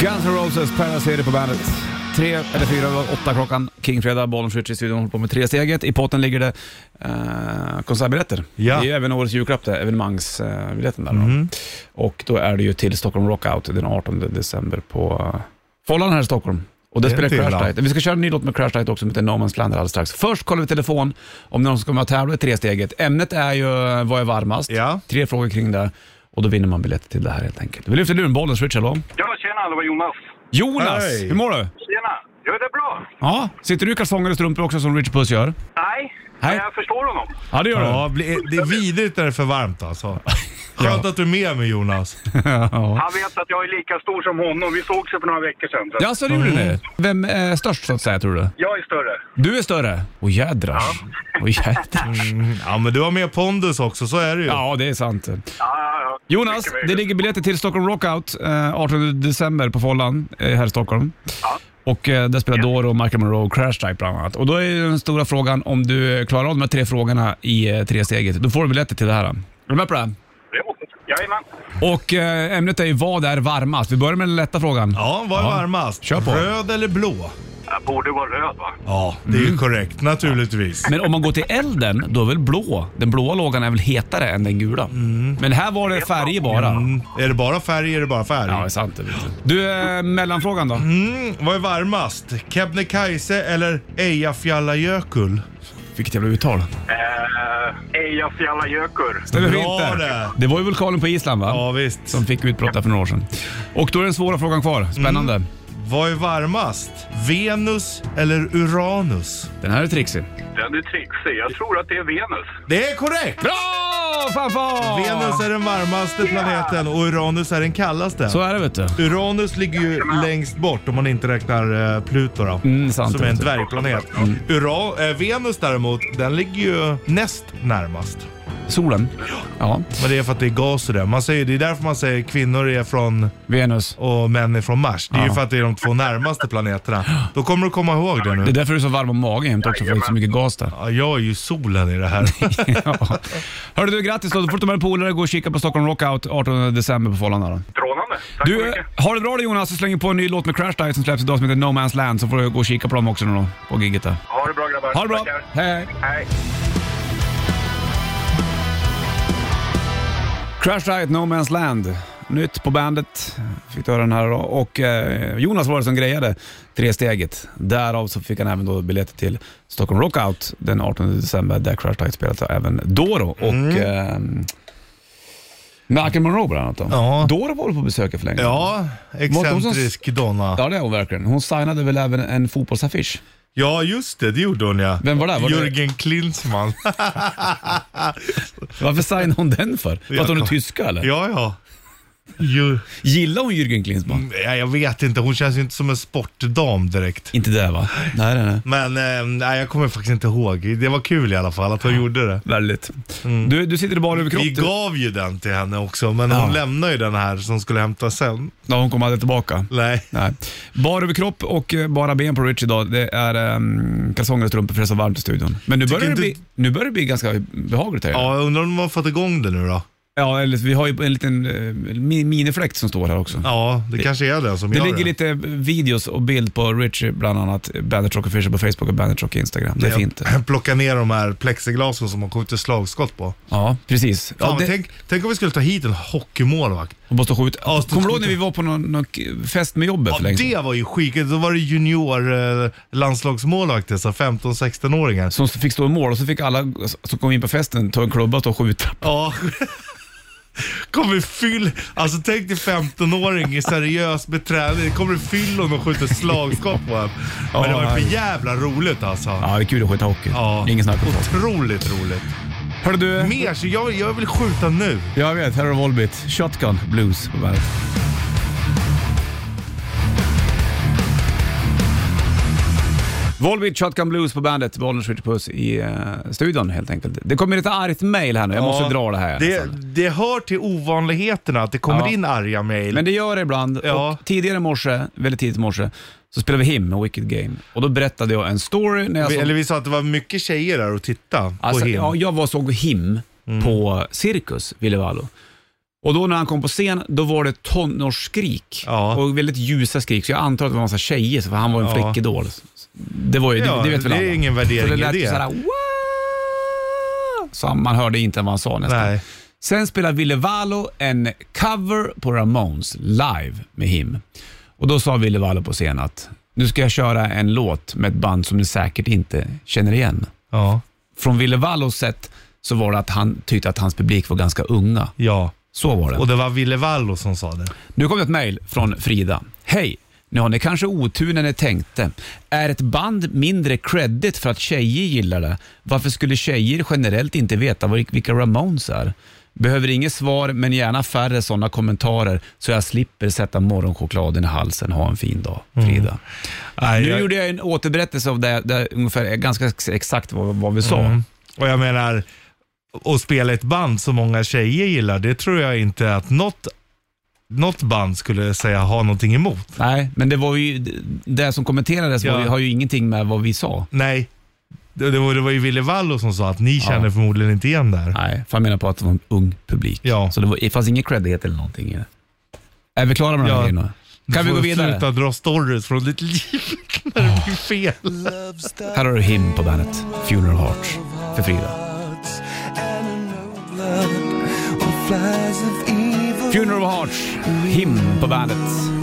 Speaker 2: Guns N' Roses, Parasite på bandet. Tre eller fyra över åtta klockan. Kingfredag, bollen skjuts i studion, håller på med tresteget. I potten ligger det eh, konsertbiljetter.
Speaker 3: Ja. Mhm.
Speaker 2: Det är ju även årets julklapp, det, evenemangsbiljetten där. då. Och då är det ju till Stockholm Rockout den 18 december på eh, Follan här i Stockholm. Och där
Speaker 3: Det är
Speaker 2: spelar
Speaker 3: inte
Speaker 2: Crash
Speaker 3: illa.
Speaker 2: Diet. Vi ska köra en ny låt med Crash Diet också, som heter No Man's Land alldeles strax. Först kollar vi telefon om någon som kommer att tävla i tresteget. Ämnet är ju eh, vad är varmast?
Speaker 3: Ja.
Speaker 2: Tre frågor kring det. Och då vinner man biljetter till det här helt enkelt. Vi lyfter luren, bollen, switch, hallå.
Speaker 5: Ja, tjena, det var Jonas.
Speaker 2: Jonas,
Speaker 3: Hej.
Speaker 2: hur mår du?
Speaker 5: Tjena. Jo, det är bra.
Speaker 2: Ja, sitter du i kalsonger och strumpor också som Rich Puss gör?
Speaker 5: Nej,
Speaker 2: Hej.
Speaker 5: jag förstår honom.
Speaker 2: Ja, det gör
Speaker 3: Ja, bli- det är vidrigt när det är för varmt alltså. Skönt att du är med mig Jonas.
Speaker 2: du. ja.
Speaker 5: Han vet att jag är lika stor som honom. Vi såg sig för några veckor sedan. så att
Speaker 2: Ja, så det gjorde ni. Vem är störst så att säga, tror du?
Speaker 5: Jag är större.
Speaker 2: Du är större. Åh jädrars. Åh jädrars.
Speaker 3: Ja, men du har med pondus också, så är det ju.
Speaker 2: Ja, det är sant.
Speaker 5: Ja, ja, ja.
Speaker 2: Jonas,
Speaker 5: Mycket möjligt.
Speaker 2: det ligger biljetter till Stockholm Rockout eh, 18 december på Follan eh, här i Stockholm. Och eh, där spelar Doro, och Michael Monroe och Crash Type bland annat. Och då är ju den stora frågan om du klarar av de här tre frågorna i eh, tre steget. Då får du biljetter till det här. Är du med på det? här?
Speaker 5: Jo, Jajamän.
Speaker 2: Och eh, ämnet är ju vad är varmast? Vi börjar med den lätta frågan.
Speaker 3: Ja, vad är varmast?
Speaker 2: Kör på.
Speaker 3: Röd eller blå?
Speaker 5: Jag borde vara röd, va?
Speaker 3: Ja, det är ju korrekt naturligtvis.
Speaker 2: Men om man går till elden, då är väl blå? Den blåa lågan är väl hetare än den gula? Men här var det färger bara.
Speaker 3: Mm. Är det bara färg är det bara färg.
Speaker 2: Ja, det är sant. det vet Du, du eh, mellanfrågan då?
Speaker 3: Mm, vad är varmast? Kebnekaise eller Eyjafjallajökull?
Speaker 2: Vilket jävla uttal.
Speaker 5: Eh, Eyjafjallajökull.
Speaker 2: Det, var
Speaker 3: Bra
Speaker 2: inte.
Speaker 3: det.
Speaker 2: det var ju vulkanen på Island va?
Speaker 3: Ja, visst.
Speaker 2: Som fick utbrott där för några år sedan. Och då är den svåra frågan kvar. Spännande.
Speaker 3: Vad är varmast? Venus eller Uranus?
Speaker 2: Den här är trixig.
Speaker 5: Den är trixig. Jag tror att det är Venus.
Speaker 3: Det är korrekt!
Speaker 2: Bra! Fanfar!
Speaker 3: Venus är den varmaste planeten och Uranus är den kallaste.
Speaker 2: Så är det vet du.
Speaker 3: Uranus ligger ju längst bort om man inte räknar eh, Pluto då.
Speaker 2: Mm, sant, Mm.
Speaker 3: som är en
Speaker 2: sant.
Speaker 3: dvärgplanet. Uran, eh, Venus däremot, den ligger ju näst närmast.
Speaker 2: Solen. Ja.
Speaker 3: Men det är för att det är gas och det. Man säger, det är därför man säger kvinnor är från
Speaker 2: Venus.
Speaker 3: och män är från Mars. Det är ju
Speaker 2: Ja.
Speaker 3: för att det är de två närmaste planeterna. Då kommer du komma ihåg det
Speaker 2: Det är
Speaker 3: nu.
Speaker 2: därför du är så varm om magen jämt också, för det är så mycket gas där.
Speaker 3: Ja, jag är ju solen i det här.
Speaker 2: ja. Hörru du, grattis då. Då får du ta med en polare och gå och kika på Stockholm Rockout 18 december på Follan. där då.
Speaker 5: Strålande. Tack så
Speaker 2: Du,
Speaker 5: mycket.
Speaker 2: har det bra då Jonas, så slänger på en ny låt med Crash Diet som släpps idag som heter No Man's Land, så får du gå och kika på dem också nu då, på giget där.
Speaker 5: Ha det bra, grabbar.
Speaker 2: Ha det bra!
Speaker 5: Tackar.
Speaker 2: Hej, hej!
Speaker 5: Hej.
Speaker 2: Crash Diet, No Man's Land. Nytt på bandet, fick du höra den här då. Och eh, Jonas var det som grejade tresteget. Därav så fick han även då biljetter till Stockholm Rockout den 18 december där Crash Diet spelat även Doro och
Speaker 3: Mm.
Speaker 2: ehm, Malcolm Monroe bland annat. Då.
Speaker 3: Ja.
Speaker 2: Doro var väl på besök här för länge
Speaker 3: Ja,
Speaker 2: de som-
Speaker 3: excentrisk donna.
Speaker 2: Ja, det är hon verkligen. Hon signade väl även en fotbollsaffisch?
Speaker 3: Ja, just det. Det gjorde hon ja.
Speaker 2: Vem var det? Var det-
Speaker 3: Jörgen Klinsmann.
Speaker 2: Varför signade hon den för? För att hon är tyska eller?
Speaker 3: ja, ja. Ju...
Speaker 2: Gillar hon Jürgen Klinsmann?
Speaker 3: Ja, jag vet inte. Hon känns ju inte som en sportdam direkt.
Speaker 2: Inte det va? Nej, nej, nej.
Speaker 3: Men eh, nej, jag kommer faktiskt inte ihåg. Det var kul i alla fall att hon gjorde det.
Speaker 2: Väldigt. Du, du sitter i bara överkropp.
Speaker 3: Mm. Vi
Speaker 2: du.
Speaker 3: gav ju den till henne också, men
Speaker 2: Ja.
Speaker 3: hon lämnade ju den här som skulle hämtas sen.
Speaker 2: Ja, hon kommer aldrig tillbaka.
Speaker 3: Nej.
Speaker 2: Nej. Bara överkropp och eh, bara ben på Rich idag. Det är um, kalsonger och strumpor för det är så varmt i studion. Men nu börjar, det
Speaker 3: inte-
Speaker 2: bli, nu börjar det bli ganska behagligt här.
Speaker 3: Ja, jag undrar om de har fått igång det nu då.
Speaker 2: ja eller, vi har ju en liten eh, mi- minifläkt som står här också.
Speaker 3: Ja, det, kanske är den som
Speaker 2: Det
Speaker 3: gör
Speaker 2: ligger
Speaker 3: det.
Speaker 2: lite eh, videos och bild på Richie bland annat. Bandit Rock Official på Facebook och Bandit Rock Instagram. Det är fint. det.
Speaker 3: Jag plockar ner de här plexiglasen som har skjutit slagskott på.
Speaker 2: Ja, precis.
Speaker 3: Fan,
Speaker 2: Ja,
Speaker 3: men
Speaker 2: det,
Speaker 3: tänk, tänk om vi skulle ta hit en hockeymålvakt.
Speaker 2: och måste skjuta.
Speaker 3: Ja,
Speaker 2: Kommer du ihåg när vi var på någon, någon fest med jobbet
Speaker 3: Ja,
Speaker 2: för länge sedan?
Speaker 3: det var ju skitigt. Då var det junior eh, landslagsmålvakter, så 15-16-åringar.
Speaker 2: Som fick stå i mål och så fick alla som kom in på festen ta en klubba och stå och skjuta.
Speaker 3: Ja. Kommer fyll... Alltså tänk dig 15-åring i seriös med träning. Kommer fyllon och skjuter slagskott på en. Men det var för jävla roligt alltså.
Speaker 2: Ja, det är kul att skjuta hockey.
Speaker 3: Ja.
Speaker 2: Ingen snack om det.
Speaker 3: Otroligt roligt.
Speaker 2: Hörru du.
Speaker 3: Mer, så jag, jag vill skjuta nu.
Speaker 2: Jag vet, här har du Volbit. Shotgun Blues på bandet. Volbit Shotgun Blues på bandet. Bollnäs skjuter puss i eh, studion helt enkelt. Det kommer lite argt mail här nu. Jag måste dra det här. alltså.
Speaker 3: Det,
Speaker 2: nästan.
Speaker 3: det hör till ovanligheterna att det kommer
Speaker 2: Ja.
Speaker 3: in arga mejl.
Speaker 2: Men det gör det ibland.
Speaker 3: Ja.
Speaker 2: Och tidigare i morse, väldigt tidigt i morse, så spelade vi him med Wicked Game. Och då berättade jag en story när jag
Speaker 3: Vi-
Speaker 2: såg...
Speaker 3: Eller vi sa att det var mycket tjejer där och titta
Speaker 2: Alltså,
Speaker 3: på Mm. him.
Speaker 2: Ja, jag var och såg him på Cirkus, Ville Vallo. Och då när han kom på scen, då var det tonårsskrik.
Speaker 3: Ja.
Speaker 2: Och väldigt ljusa skrik, så jag antar att det var en massa tjejer, för han var en
Speaker 3: Ja.
Speaker 2: flickidol. Det, var ju,
Speaker 3: Ja,
Speaker 2: det, det vet väl
Speaker 3: det är
Speaker 2: alla.
Speaker 3: ingen värdering
Speaker 2: så det
Speaker 3: i
Speaker 2: lät ju
Speaker 3: det.
Speaker 2: såhär, "Wow!" så man hörde inte vad han sa nästan.
Speaker 3: Nej.
Speaker 2: Sen spelar Ville Vallo en cover på Ramones live med him. Och då sa Ville Vallo på scen att nu ska jag köra en låt med ett band som ni säkert inte känner igen
Speaker 3: Ja.
Speaker 2: från Ville Vallos sätt så var det att han tyckte att hans publik var ganska unga.
Speaker 3: ja.
Speaker 2: Så var det.
Speaker 3: Och det var Ville Vallo som sa det.
Speaker 2: Nu kom det ett mejl från Frida. Hej! Nu har ni kanske otur när ni tänkte. Är ett band mindre credit för att tjejer gillar det? Varför skulle tjejer generellt inte veta vad- vilka Ramones är? Behöver inget svar, men gärna färre sådana kommentarer så jag slipper sätta morgonchokladen i halsen. Ha en fin dag, Frida.
Speaker 3: Mm. Nej,
Speaker 2: Nu
Speaker 3: jag-
Speaker 2: gjorde jag en återberättelse av det, det ungefär, ganska ex- exakt vad, vad vi sa.
Speaker 3: Mm. Och jag menar, att spela ett band som många tjejer gillar, det tror jag inte att något, något band skulle säga ha någonting emot.
Speaker 2: Nej, men det var ju det som kommenterades var
Speaker 3: Ja.
Speaker 2: ju, har ju ingenting med vad vi sa.
Speaker 3: Nej, det, det, var, det var ju Ville Vallo som sa att ni känner förmodligen inte igen det här.
Speaker 2: Nej, för han menar på att det var en ung publik.
Speaker 3: Ja.
Speaker 2: Så det, var, det fanns ingen creddighet eller någonting i det. Är vi klara med de här
Speaker 3: Ja.
Speaker 2: grejerna?
Speaker 3: Du
Speaker 2: Kan vi
Speaker 3: får
Speaker 2: gå vidare?
Speaker 3: Sluta dra stories från ditt liv när det blir fel.
Speaker 2: Här har du him på bandet. Funeral Heart för Frida. Funeral Hearts, him på bandet.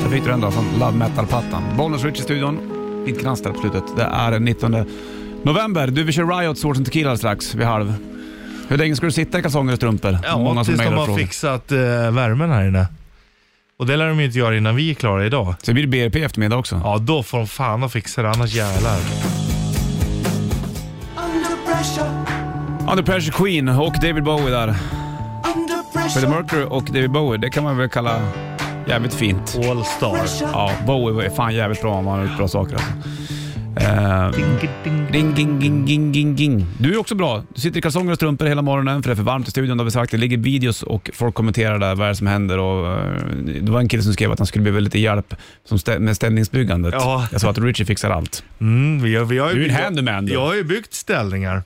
Speaker 2: Där fick du den då från Love Metal-plattan. Bollnäs Rich i studion. Fint knast där på slutet. Det är den 19 november. Du, vi kör Riot, Swords and Tequila strax vid halv. Hur länge ska du sitta i kalsonger och strumpor?
Speaker 3: Ja, tills de
Speaker 2: mejlar
Speaker 3: har
Speaker 2: frågor.
Speaker 3: fixat eh, värmen här inne. Och det lär de ju inte göra innan vi är klara idag.
Speaker 2: Så det blir BRP i eftermiddag också.
Speaker 3: Ja, då får de fan ha fixat det, annars jävlar.
Speaker 2: Under Pressure Queen och David Bowie där. Freddie Mercury och David Bowie, det kan man väl kalla jävligt fint.
Speaker 3: All star.
Speaker 2: Ja, Bowie var fan jävligt bra. Man har gjort bra saker alltså. Eh, ding, ding, ding, ding, ding, ding. Du är också bra. Du sitter i kalsonger och strumpor hela morgonen för det är för varmt i studion. Det har vi sagt. Det ligger videos och folk kommenterar där vad är det som händer. Och, eh, det var en kille som skrev att han skulle behöva lite hjälp som stä- med ställningsbyggandet.
Speaker 3: Ja.
Speaker 2: Jag sa att Richie fixar allt.
Speaker 3: Mm, vi har, vi har ju
Speaker 2: Du är en
Speaker 3: byggt-
Speaker 2: handyman, du. Mm.
Speaker 3: Jag har ju byggt ställningar.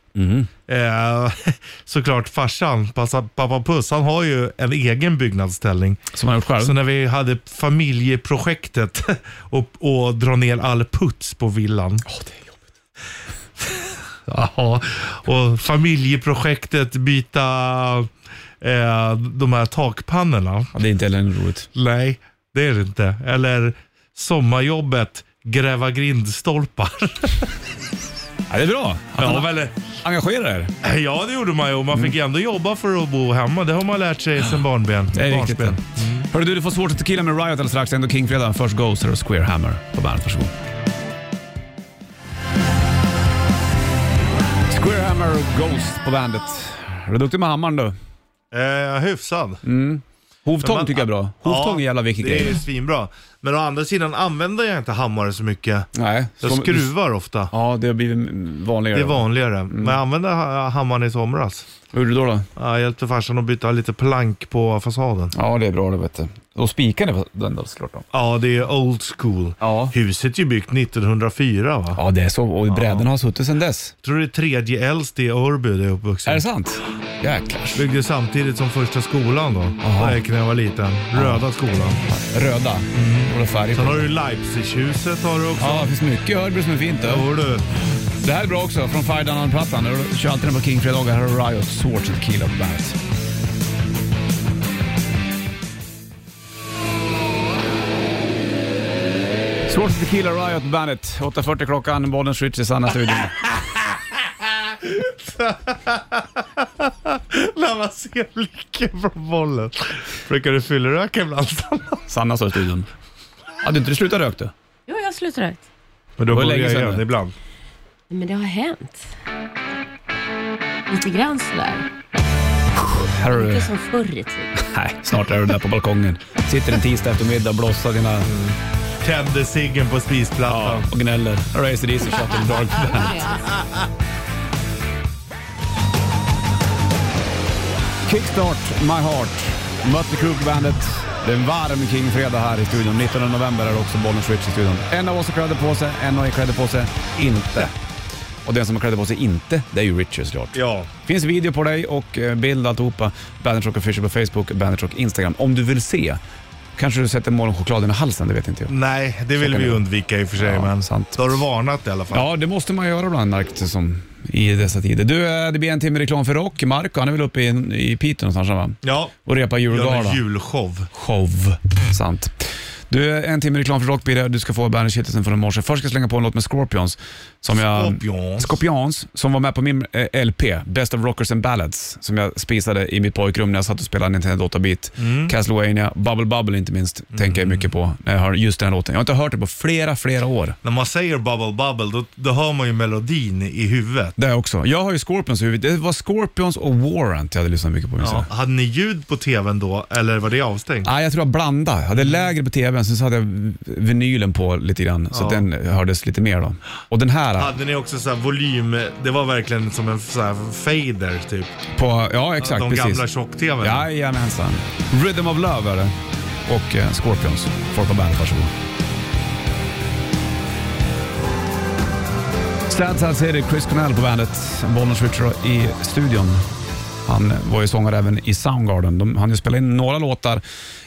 Speaker 3: Eh, såklart farsan, passa- pappa Puss, han har ju en egen byggnadsställning.
Speaker 2: Som han har gjort själv.
Speaker 3: Så när vi hade familjeprojektet och, och dra ner all puts på villan.
Speaker 2: Åh, det är jobbigt.
Speaker 3: Ja, och familjeprojektet byta eh, de här takpannorna.
Speaker 2: Ja, det är inte heller roligt.
Speaker 3: Nej, det är det inte. Eller sommarjobbet gräva grindstolpar.
Speaker 2: Ja, det är bra att
Speaker 3: Ja,
Speaker 2: man
Speaker 3: väl,
Speaker 2: engagerar er.
Speaker 3: ja, det gjorde man ju. Och Man fick ändå jobba för att bo hemma. Det har man lärt sig sedan barnben.
Speaker 2: Mm. Det är viktigt.
Speaker 3: barnsben.
Speaker 2: Hörru du, du får svårt att tequila med Riot alldeles strax. Ändå King-fredag. Först Ghost och Square Hammer på bandet. Varsågod. Square Hammer och Ghost på bandet. Är du duktig med hammaren du?
Speaker 3: Eh, hyfsad.
Speaker 2: Hovtång
Speaker 3: Men-
Speaker 2: tycker jag är bra. Hovtång är jävla viktig
Speaker 3: Det är
Speaker 2: grej.
Speaker 3: ju svinbra. Men å andra sidan använder jag inte hammare så mycket.
Speaker 2: Nej.
Speaker 3: Jag
Speaker 2: som-
Speaker 3: skruvar ofta.
Speaker 2: Ja, det Mm. har blivit vanligare.
Speaker 3: Det är vanligare. Men jag använde ha- hammaren i somras.
Speaker 2: Hur gjorde du då, då?
Speaker 3: Ja, Jag hjälpte farsan att byta lite plank på fasaden.
Speaker 2: Ja, det är bra det vet du. Och spikade på den då såklart. Då.
Speaker 3: Ja, det är old school.
Speaker 2: Ja.
Speaker 3: Huset är ju byggt 1904 va?
Speaker 2: Ja, det är så. Och brädorna har suttit sedan dess.
Speaker 3: tror det är tredje äldst i Örby där jag är
Speaker 2: Är
Speaker 3: uppvuxen.
Speaker 2: det sant? Jäklar.
Speaker 3: Byggdes samtidigt som första skolan då.
Speaker 2: Aha.
Speaker 3: Där gick jag när jag var liten. Röda skolan.
Speaker 2: Röda. Röda färger på.
Speaker 3: Mm. Sen har du Leipzighuset har du också.
Speaker 2: Ja, det finns mycket i Hörby som är fint.
Speaker 3: Där
Speaker 2: Då.
Speaker 3: har du.
Speaker 2: Det här är bra också, från Fire Down-plattan. Du kör alltid den på King-fredagar. Här har Riot, Swords och Kill of Bands. Swords of Tequila, Riot, Bandet. 8.40 klockan, Bollnäs Switch i Sanna studion.
Speaker 3: När man ser lyckan från bollen. Brukar du fylleröka ibland?
Speaker 2: Sanna står i studion. Hade inte du slutat röka du?
Speaker 7: Jo, jag har slutat.
Speaker 3: Men då
Speaker 2: var
Speaker 3: börjar
Speaker 2: länge
Speaker 3: jag
Speaker 2: sedan
Speaker 3: igen
Speaker 2: det.
Speaker 3: ibland.
Speaker 7: Men det har hänt. Lite grann sådär.
Speaker 2: Här har du...
Speaker 7: Inte som förr i tiden.
Speaker 2: Nej, snart är du där på balkongen. Sitter en tisdag eftermiddag och blossar dina...
Speaker 3: Tände ciggen på spisplattan.
Speaker 2: och gnäller. Här har ACDC, Shut in the dark. Kickstart My Heart. Mötley Crüe på bandet. Det är en varm King-fredag här i studion. 19 november är det också Bollnäs Switch i studion. En av oss har kläder på sig, en av er kläder på sig inte. Och den som har kläder på sig inte, det är ju Richard såklart.
Speaker 3: Ja.
Speaker 2: finns video på dig och eh, bild alltihopa. Bandage Rock Official på Facebook, Bandage Rock Instagram. Om du vill se, kanske du sätter morgonchokladen i halsen, det vet inte jag.
Speaker 3: Nej, det vill
Speaker 2: kan
Speaker 3: vi
Speaker 2: det.
Speaker 3: undvika i och för sig.
Speaker 2: Ja,
Speaker 3: men
Speaker 2: sant.
Speaker 3: då har du varnat i alla fall.
Speaker 2: Ja, det måste man göra ibland märkt som i dessa tider. Du, eh, det blir en timme reklam för rock. Marco, han är väl uppe i, i Piteå någonstans va?
Speaker 3: Ja.
Speaker 2: Och repar
Speaker 3: Gör
Speaker 2: julgala.
Speaker 3: en julshow.
Speaker 2: Show. Sant. Du, eh, en timme reklam för rock blir det. Du ska få Bandage Kittelsen från i morse. Först ska jag slänga på en låt med Scorpions. Som jag,
Speaker 3: Scorpions.
Speaker 2: Scorpions, som var med på min eh, LP, Best of Rockers and Ballads, som jag spisade i mitt pojkrum när jag satt och spelade Nintendo 8-bit.
Speaker 3: Mm.
Speaker 2: Castlevania, Bubble Bubble inte minst, tänker jag mycket på när jag hör just den här låten. Jag har inte hört det på flera, flera år.
Speaker 3: När man säger bubble bubble, då, då hör man ju melodin i huvudet.
Speaker 2: Det också. Jag har ju Scorpions i huvudet. Det var Scorpions och Warrant jag hade lyssnat mycket på. minns jag.
Speaker 3: Ja. Hade ni ljud på tvn då, eller var det avstängt?
Speaker 2: Nej, Ah, jag tror jag blandade. Jag hade
Speaker 3: Mm.
Speaker 2: lägre på tvn, sen så hade jag v- vinylen på lite grann, så att den hördes lite mer. då. Och den här,
Speaker 3: Hade ni också så här volym, det var verkligen som en så här fader typ.
Speaker 2: på, ja exakt,
Speaker 3: De
Speaker 2: precis.
Speaker 3: gamla tjock-tvn.
Speaker 2: Jajamensan. Rhythm of Love är det. Och eh, Scorpions. Folk på bandet, varsågod. Sad Sad City, Chris Cornell på bandet. Bollnäs Richard i studion. Han var ju sångare även i Soundgarden. De hann ju spela in några låtar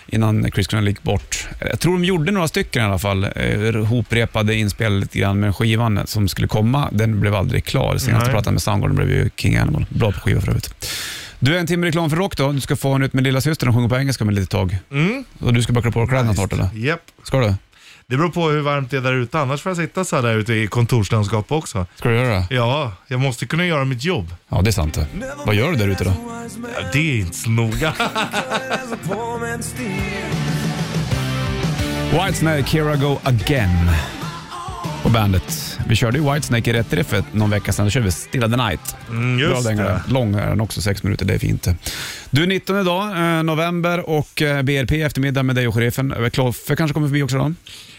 Speaker 2: innan Chris Cornell gick bort. Jag tror de gjorde några stycken i alla fall. Eh, Hoprepade inspel lite grann, men skivan som skulle komma, den blev aldrig klar. Senaste
Speaker 3: Nej.
Speaker 2: plattan med Soundgarden blev ju King Animal. Bra på skiva för övrigt. Du, är en timme reklam för rock då. Du ska få en ut med lilla systern och sjunga på engelska om ett litet tag.
Speaker 3: Mm.
Speaker 2: Och du ska bara klä på dig kläderna snart eller?
Speaker 3: Japp.
Speaker 2: Ska du?
Speaker 3: Det beror på hur varmt det är där ute, annars får jag sitta så här där ute i kontorslandskap också.
Speaker 2: Ska du göra det?
Speaker 3: Ja, jag måste kunna göra mitt jobb.
Speaker 2: Ja, det är sant det. Vad gör du där ute då?
Speaker 3: Ja, Det är inte så noga.
Speaker 2: Whitesnake, Here I Go Again på bandet. Vi körde ju Whitesnake i rätt riff för någon vecka sedan. Då körde vi Still of the Night.
Speaker 3: Mm, just
Speaker 2: Bra dängare.
Speaker 3: det.
Speaker 2: Lång är den också, sex minuter. Det är fint. Du, 19 idag, eh, november och eh, BRP i eftermiddag med dig och sheriffen. Eh, Kloffe kanske kommer förbi också då?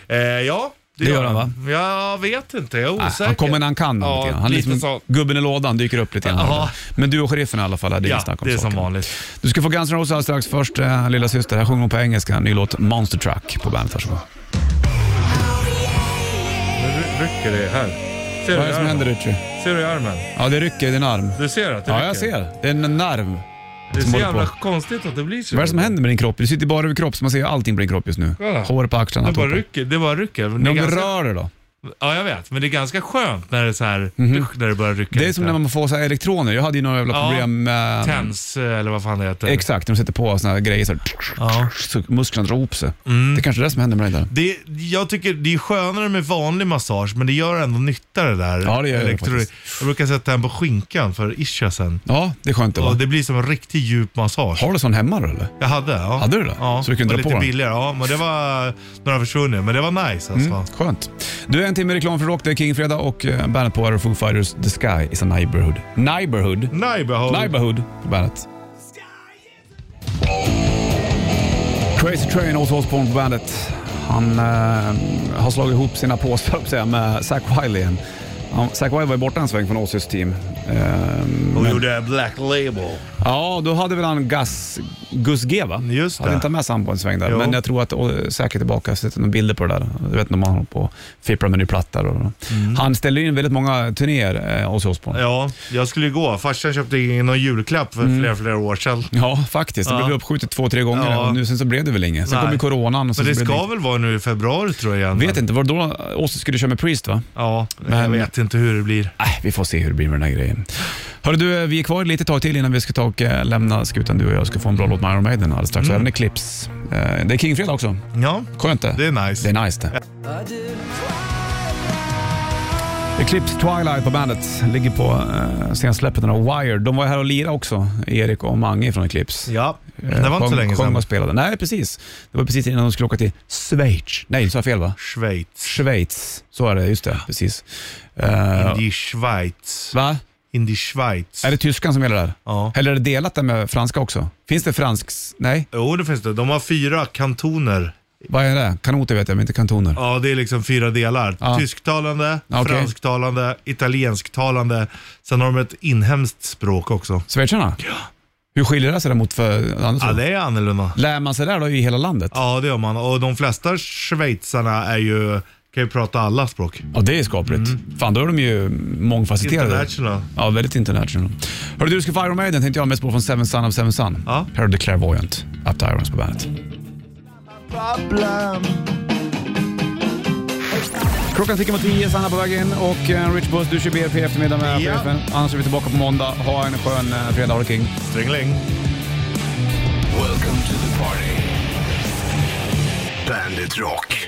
Speaker 3: Eh, ja, det,
Speaker 2: Det gör han,
Speaker 3: Jag vet inte, jag är
Speaker 2: Nej,
Speaker 3: osäker.
Speaker 2: Ah, han kommer när han kan.
Speaker 3: Ja,
Speaker 2: lite grann. han är
Speaker 3: lite
Speaker 2: liksom,
Speaker 3: så.
Speaker 2: Gubben i lådan dyker upp lite grann. här och
Speaker 3: Ja.
Speaker 2: där. Men du och sheriffen i alla fall, det är inget
Speaker 3: Ja,
Speaker 2: snack om
Speaker 3: det är som
Speaker 2: saken.
Speaker 3: vanligt.
Speaker 2: Du ska få Guns N' Roses alldeles strax. Först eh, lilla syster. här sjunger hon på engelska. Ny låt Monster Truck på bandet. Varsågod.
Speaker 3: Nu ry- rycker det här. Ser du
Speaker 2: Vad är det som
Speaker 3: armen?
Speaker 2: händer Richie?
Speaker 3: Ser du i armen?
Speaker 2: Ja, det rycker i din arm.
Speaker 3: Du ser att det
Speaker 2: Ja,
Speaker 3: rycker?
Speaker 2: jag ser. Det är en nerv.
Speaker 3: Det är
Speaker 2: som
Speaker 3: så
Speaker 2: håller på.
Speaker 3: jävla konstigt att det blir så.
Speaker 2: Vad är det som händer med din kropp? Du sitter bara över kropp, så man ser allting på din kropp just nu.
Speaker 3: Ja.
Speaker 2: Hår på axlarna.
Speaker 3: Det bara
Speaker 2: alltihopa.
Speaker 3: rycker. Det bara rycker.
Speaker 2: Men
Speaker 3: Det är
Speaker 2: om du
Speaker 3: ganska-
Speaker 2: rör dig då?
Speaker 3: Ja, jag vet. Men det är ganska skönt när det, är så här, när det börjar rycka
Speaker 2: Mhm. Det är
Speaker 3: lite.
Speaker 2: som när man får så här elektroner. Jag hade ju några jävla
Speaker 3: Ja.
Speaker 2: problem med...
Speaker 3: Tens, eh, eller vad fan det heter.
Speaker 2: Exakt, de sätter på såna här grejer så, här,
Speaker 3: Ja. Mm.
Speaker 2: så musklerna drar ihop sig. Det är kanske är det som händer med dig där.
Speaker 3: Det, jag tycker det är skönare med vanlig massage, men det gör ändå nytta det där.
Speaker 2: Ja, det gör det
Speaker 3: Elektro-
Speaker 2: faktiskt.
Speaker 3: jag brukar sätta den på skinkan för ischiasen.
Speaker 2: Ja, det är skönt det va?
Speaker 3: Och det blir som en riktigt djup massage.
Speaker 2: Har du sån hemma då eller?
Speaker 3: Jag hade, ja.
Speaker 2: Hade du det?
Speaker 3: Ja,
Speaker 2: Så du kunde
Speaker 3: och
Speaker 2: dra på
Speaker 3: lite
Speaker 2: den?
Speaker 3: billigare. Ja, men det var några försvunnit, men det var nice alltså.
Speaker 2: Skönt. Du, en timme reklam för rock. Det är King Fredag och eh, bandet på är Foo Fighters The Sky is a Neighborhood. Neighborhood?
Speaker 3: Neighborhood.
Speaker 2: Neighborhood på bandet. Crazy Train, Ozzy Osbourne på bandet. Han eh, har slagit ihop sina påsar höll jag på att säga, med Zack Wiley igen. Han- Zack Wiley var ju borta en sväng från Ozzys team. Ehm,
Speaker 3: Och gjorde Black Label.
Speaker 2: Ja, då hade väl han Gus, Gus G va?
Speaker 3: Just
Speaker 2: Hade
Speaker 3: det.
Speaker 2: inte han med sig han på en sväng där.
Speaker 3: Jo.
Speaker 2: Men jag tror att och, säkert tillbaka, jag har sett några bilder på det där. Du vet när man håller på och fipplar med ny platta. Och, Han ställde ju in väldigt många turnéer, eh, Ozzy Osbourne. Ja.
Speaker 3: Mm. Ja, jag skulle ju gå. Farsan köpte in någon julklapp för
Speaker 2: Mm.
Speaker 3: flera, flera år sedan.
Speaker 2: faktiskt. Det
Speaker 3: Ja.
Speaker 2: blev uppskjutet två, tre gånger
Speaker 3: Ja.
Speaker 2: och nu sen så blev det väl inget. Sen
Speaker 3: Nej.
Speaker 2: kom ju coronan. Och sen
Speaker 3: Men det
Speaker 2: så blev
Speaker 3: ska väl vara nu i februari tror jag. igen.
Speaker 2: Vet inte, var det då Ozzy skulle köra med Priest va?
Speaker 3: Ja,
Speaker 2: Men-
Speaker 3: jag vet inte hur det blir.
Speaker 2: Nej, vi får se hur det blir med den här grejen. Hörru du, eh, vi är kvar lite tag till innan vi ska ta och eh, lämna skutan. Du och jag ska få en bra låt med Iron Maiden alldeles strax.
Speaker 3: Mm.
Speaker 2: Även Eclipse. Eh, Det är Kingfredag också.
Speaker 3: Ja,
Speaker 2: Skönt det.
Speaker 3: det är nice.
Speaker 2: Det är nice det. Eclipse Twilight på bandet ligger på eh, sensläppet av Wire. De var här och lirade också, Erik och Mange från Eclipse.
Speaker 3: Ja,
Speaker 2: Eh,
Speaker 3: det var inte
Speaker 2: sjöng-
Speaker 3: så länge
Speaker 2: Sjöng
Speaker 3: sedan.
Speaker 2: och spelade. Nej, precis. Det var precis innan de skulle åka till Schweiz. Nej, sa jag fel va?
Speaker 3: Schweiz.
Speaker 2: Schweiz. Så är det, just det. Precis. Eh,
Speaker 3: Indie Schweiz.
Speaker 2: va?
Speaker 3: Indie Schweiz.
Speaker 2: Är det tyskan som gäller där?
Speaker 3: Ja.
Speaker 2: Eller är det delat där med franska också? Finns det fransks... Nej,
Speaker 3: Jo, det finns det. De har fyra kantoner.
Speaker 2: vad är det? Kanoter vet jag, men inte kantoner.
Speaker 3: Ja, det är liksom fyra delar.
Speaker 2: Ja.
Speaker 3: Tysktalande,
Speaker 2: Ja, okej.
Speaker 3: fransktalande, italiensktalande. Sen har de ett inhemskt språk också.
Speaker 2: Schweizarna? Ja. Hur skiljer det sig där mot för andra?
Speaker 3: Ja, det är annorlunda.
Speaker 2: Lär man sig där då i hela landet?
Speaker 3: Ja, det gör man. Och de flesta schweizarna är ju, kan ju prata alla språk.
Speaker 2: Ja, det är skapligt. Fan, då är de ju mångfacetterade.
Speaker 3: Mm. International.
Speaker 2: Ja, väldigt international. Hörru du, ska få Iron Maiden tänkte jag mest på från Seven Son of Seven Son.
Speaker 3: Ja.
Speaker 2: Här har du Clairvoyant, Up to Irons på bandet. Klockan tickar mot tio, Sanna på väg in och eh, Rich Buss, du kör BRP i eftermiddag med
Speaker 3: Ja.
Speaker 2: chefen. Annars är vi tillbaka på måndag. Ha en skön eh, fredag, ha det king.
Speaker 3: Strängling.
Speaker 4: Welcome to the party. Bandit Rock.